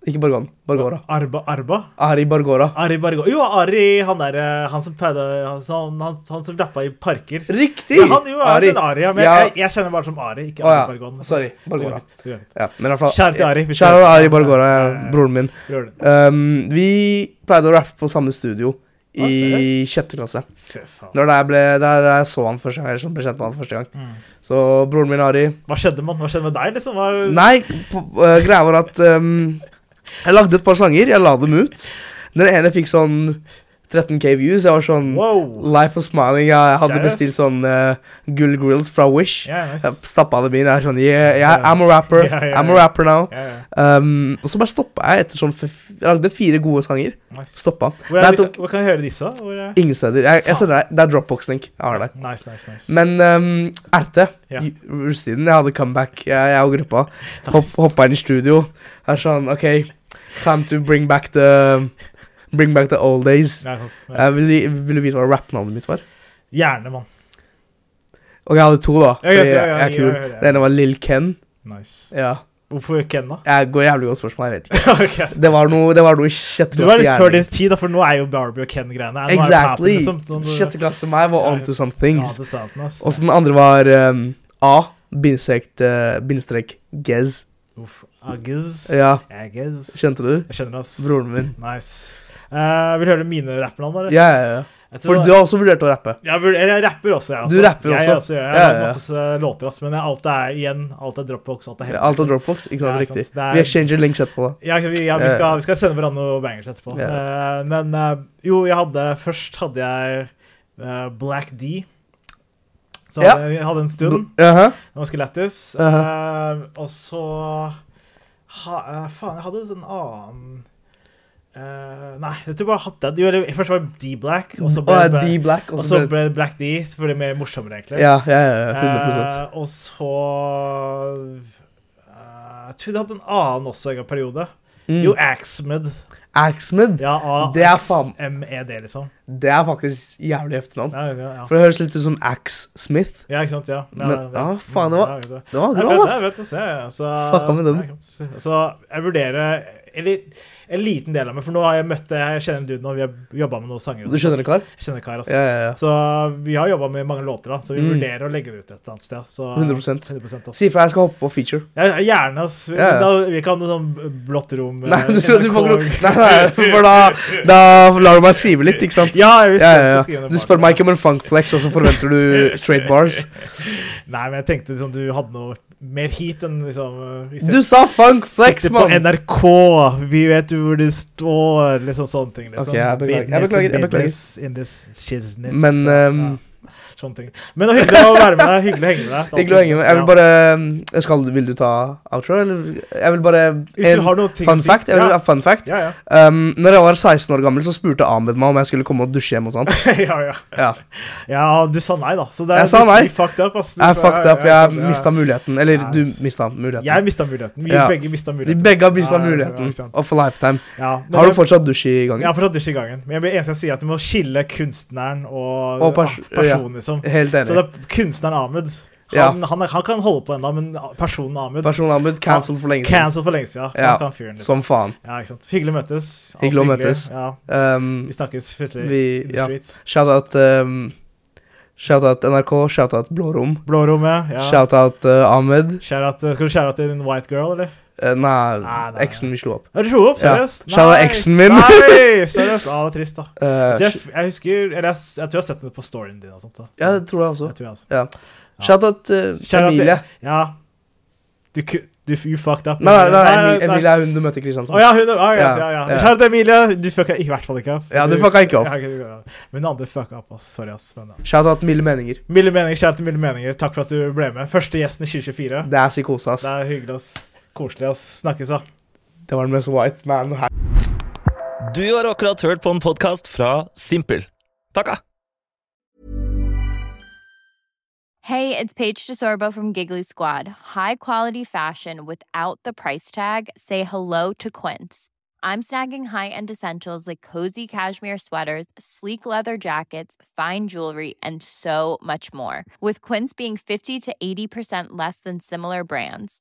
Ikke Bargon, Bargora. Arba, Arba? Ari Bargora. Ari Bargon. Jo, Ari, han der eh, Han som pleide Han, som- han, han som rappa i parker. Riktig! Men han jo er Ari. Ari ja, men Ja. jeg, jeg kjenner bare som Ari, ikke Å, ja. Ari Bargon. Sorry, Bargora. Så greit, så greit. Ja, men i hvert fall Kjære til Ari, hvis Kjære du- Ari Bargora, Ja, ja, ja, ja. broren min. Gjør det. Um, vi pleide å rappe på samme studio i sjette klasse. Fy faen. Det var der jeg, ble, der jeg så han første gang, eller sånn ble kjent med han første gang. Mm. Så broren min Ari Hva skjedde, mann? Hva skjedde med deg, liksom? Var, Nei, på, øh, greia var at øhm, jeg lagde et par sanger, jeg la dem ut. Den ene fikk sånn 13K views. Jeg var sånn Wow. Life of Smiling. Jeg, hadde Seriøst? bestilt sånn øh, Gull Grills fra Wish. Ja, nice. Jeg stappa dem inn. Jeg er sånn Yeah, yeah I'm a rapper. Ja, ja, I'm ja. a rapper now. Ja, ja. Um, og så bare stoppa jeg etter sånn f- Jeg lagde fire gode sanger. Nice. Stoppa. Hvor, Nei, er, jeg tok hvor kan jeg høre disse? da? Hvor er, ingen steder. Jeg, jeg sender deg. Det er Dropbox-link. Jeg har det. Nice, nice, nice. Men um, RT, Ja. i- russetiden, jeg hadde comeback, jeg, jeg og gruppa. Hopp, hoppa inn i studio. Jeg er sånn OK, time to bring back the Bring back the old days. Nei, sånn, nice. Eh, vil, du- vil du vite hva rappnavnet mitt var? Gjerne, mann. Ok, jeg hadde to, da. Ja, ja, fordi ja, jeg, ja, jeg er ja, kul. ja, ja. Den ene var Lill Ken. Nice. Ja. Hvorfor Ken, da? Jeg går jævlig godt spørsmål, jeg vet ikke. Ok. Det var noe, det var noe i sjette Du var litt hjernen før min. din tid, da, for nå er jo Barbie og Ken-greiene er- nå er det Exactly. papen, liksom. Nå- nå- Sjette klasse meg var Ja, onto some Ja, things. det sa den, ass. Og så den andre var ehm, A. Bindestrek uh, bindestrek Gez. Uff. Aggies. Ja, Aggies. kjente du? Jeg skjønner, ass. Broren min. Nice. Eh, vil du høre mine rappnavn, eller? Ja, ja, ja. Jeg tror For det- du har også vurdert å rappe. jeg, vurder- eller jeg rapper også, jeg. altså. Du rapper jeg, også? også gjør. Jeg Ja, har ja, ja. masse eh, låter, ass, men jeg- alt er igjen. Alt er Dropbox, alt er helt Alt av Dropbox. Ikke sant, Ja, ikke sant. riktig. Det er- Vi exchanger links etterpå, da. Ja, vi, ja, vi, Eh. skal, vi skal sende hverandre noen bangers etterpå. Eh, men eh, jo, jeg hadde først hadde jeg eh, Black D. Så Ja. Uh-huh. hadde, jeg hadde en stund. Bl- Jaha. Ganske lættis. Eh, og så ha, eh, Faen, jeg hadde en sånn annen eh, Nei, jeg tror bare jeg hatt den. Jo, eller Først var det D-Black, og så Og ble, jeg er ble, D-Black. og Og så så ble ble det Black D, så ble det mer morsommere, egentlig. Ja, ja, ja. ja, Eh, og så eh, Jeg tror jeg hadde en annen også en periode. Jo, 100 mm. Axmed. Axmed. Eh, Ja, Det er faen- AXMED, liksom. Det er faktisk jævlig efternavn. Ja, ja, ja. For det høres litt ut som Ax Smith. ja, ikke sant? Ja. ja, Men ja, ja. ah, faen, det var- Ja, ikke sant. Det var Jeg bra, vet det, jeg ass. vet det. Så, jeg- så, Fucka med den. Ja, ikke sant. så jeg vurderer Eller en liten del av meg, for nå har jeg møtt Jeg kjenner en dude nå, vi har jobba med noen sanger. Du skjønner det, kar? Jeg kjenner kar, altså. Ja, ja, ja. Så vi har jobba med mange låter, da, så vi Mm. vurderer å legge det ut et eller annet sted. Så, 100%. 100% ass. Si ifra jeg skal hoppe på feature. Ja, ja, gjerne, ass. Ja, ja. Da, vi kan ha noe sånn blått rom Nei, eh, du skal, du NRK. får ikke lov- nei, nei, for da, da lar du meg skrive litt, ikke sant? Ja, jeg visste jeg ja, skulle ja, skrive ja. noe Du bak. spør meg ikke om en funkflex, og så forventer du straight bars. Nei, men jeg tenkte liksom, du hadde noe mer heat enn liksom eh, i stedet Du sa funkflex, Sitter på mann! NRK, vi vet jo hvor du står, liksom sånne ting. Liksom. Ok, jeg beklager. Jeg Business beklager, jeg beklager. in this- in this shiznits. Men Så, ehm, Sånne ting. Men det var hyggelig å være med deg. Hyggelig å henge med deg. Det er Hyggelig å alltid- henge med. Jeg vil Ja. bare um, skal, Vil du ta outro, eller? Jeg vil bare Hvis du har noe ting å fun si. fact. Jeg vil, Ja. ha fun fact. Ja, ja. Um, når jeg var 16 år gammel, så spurte Ahmed meg om jeg skulle komme og dusje hjemme hos han. ja, ja. Ja. ja, du sa nei, da. Så det er Jeg sa nei. du fucked up. ass. Du- Jeg fucked up. ja, Jeg ja. mista muligheten. Eller, Nei. du mista muligheten. Jeg mista muligheten. Vi Ja. begge mista De muligheten. begge har mista Ja, ja, ja, muligheten. ikke sant. Og for lifetime. Ja, men Har du jeg- fortsatt dusj i Jeg har gangen? fortsatt dusj i gangen. Men jeg blir eneste jeg sier at du må skille kunstneren og, Og pers- ah, personen, liksom. Så Helt det enig. er kunstneren Ahmed. Han, Ja. han, er- han kan holde på ennå, men personen Ahmed Personen Ahmed cancelled for lenge siden. Cancel for lenge siden. Ja, Fuck han fyren, liksom. Som faen. Ja, ikke sant. Hyggelig å møtes. Alt Hyggelig å møtes. Ja, Um, vi snakkes plutselig vi i the Ja. streets. Shout-out um, Shout-out NRK, shout-out Blå Rom. Blårommet. Ja. Shout-out uh, Ahmed. Shout-out- skal du skjære til din white girl, eller? Eh, nei, Nei, nei, eksen vi slo opp. Er du slo opp? Ja. Seriøst? Shout-out Nei. eksen min. Nei, seriøst. Ja, det er trist, da. Eh, Jeg, jeg husker Eller jeg, jeg tror jeg har sett det på storyen din og sånt. da. ja, det tror jeg også. Jeg tror jeg også. Ja. Shout-out eh, Shout-out til- Emilie. Ja. Du, ku- du you fucked up. Nei, nei, nei, Emi- Emilie er hun du møtte i Kristiansand. Å ja, hun ah, ja, Ja, ja, ja. ja. Shout-out til Emilie. Du fucka i hvert fall ikke opp. Ja, du fucka ikke opp. Ja, ok, du- ja. Men den andre fucka opp. ass. Sorry, ass. Men, ja. Shout-out Milde Meninger. Milde meninger, kjære til Milde meninger. Takk for at du ble med. Første gjesten i 2024. Det er psykose, ass. Det er hyggelig, ass. Koselig, ass. Snakkes, da. Det var den mest white man her. Du har akkurat hørt på en podkast fra Simpel. Takka! Hey, it's Paige DeSorbo from Giggly Squad. High quality fashion without the price tag. Say hello to Quince. I'm snagging high-end essentials like cozy cashmere sweaters, sleek leather jackets, fine jewelry, and so much more. With Quince being 50 to 80% less than similar brands.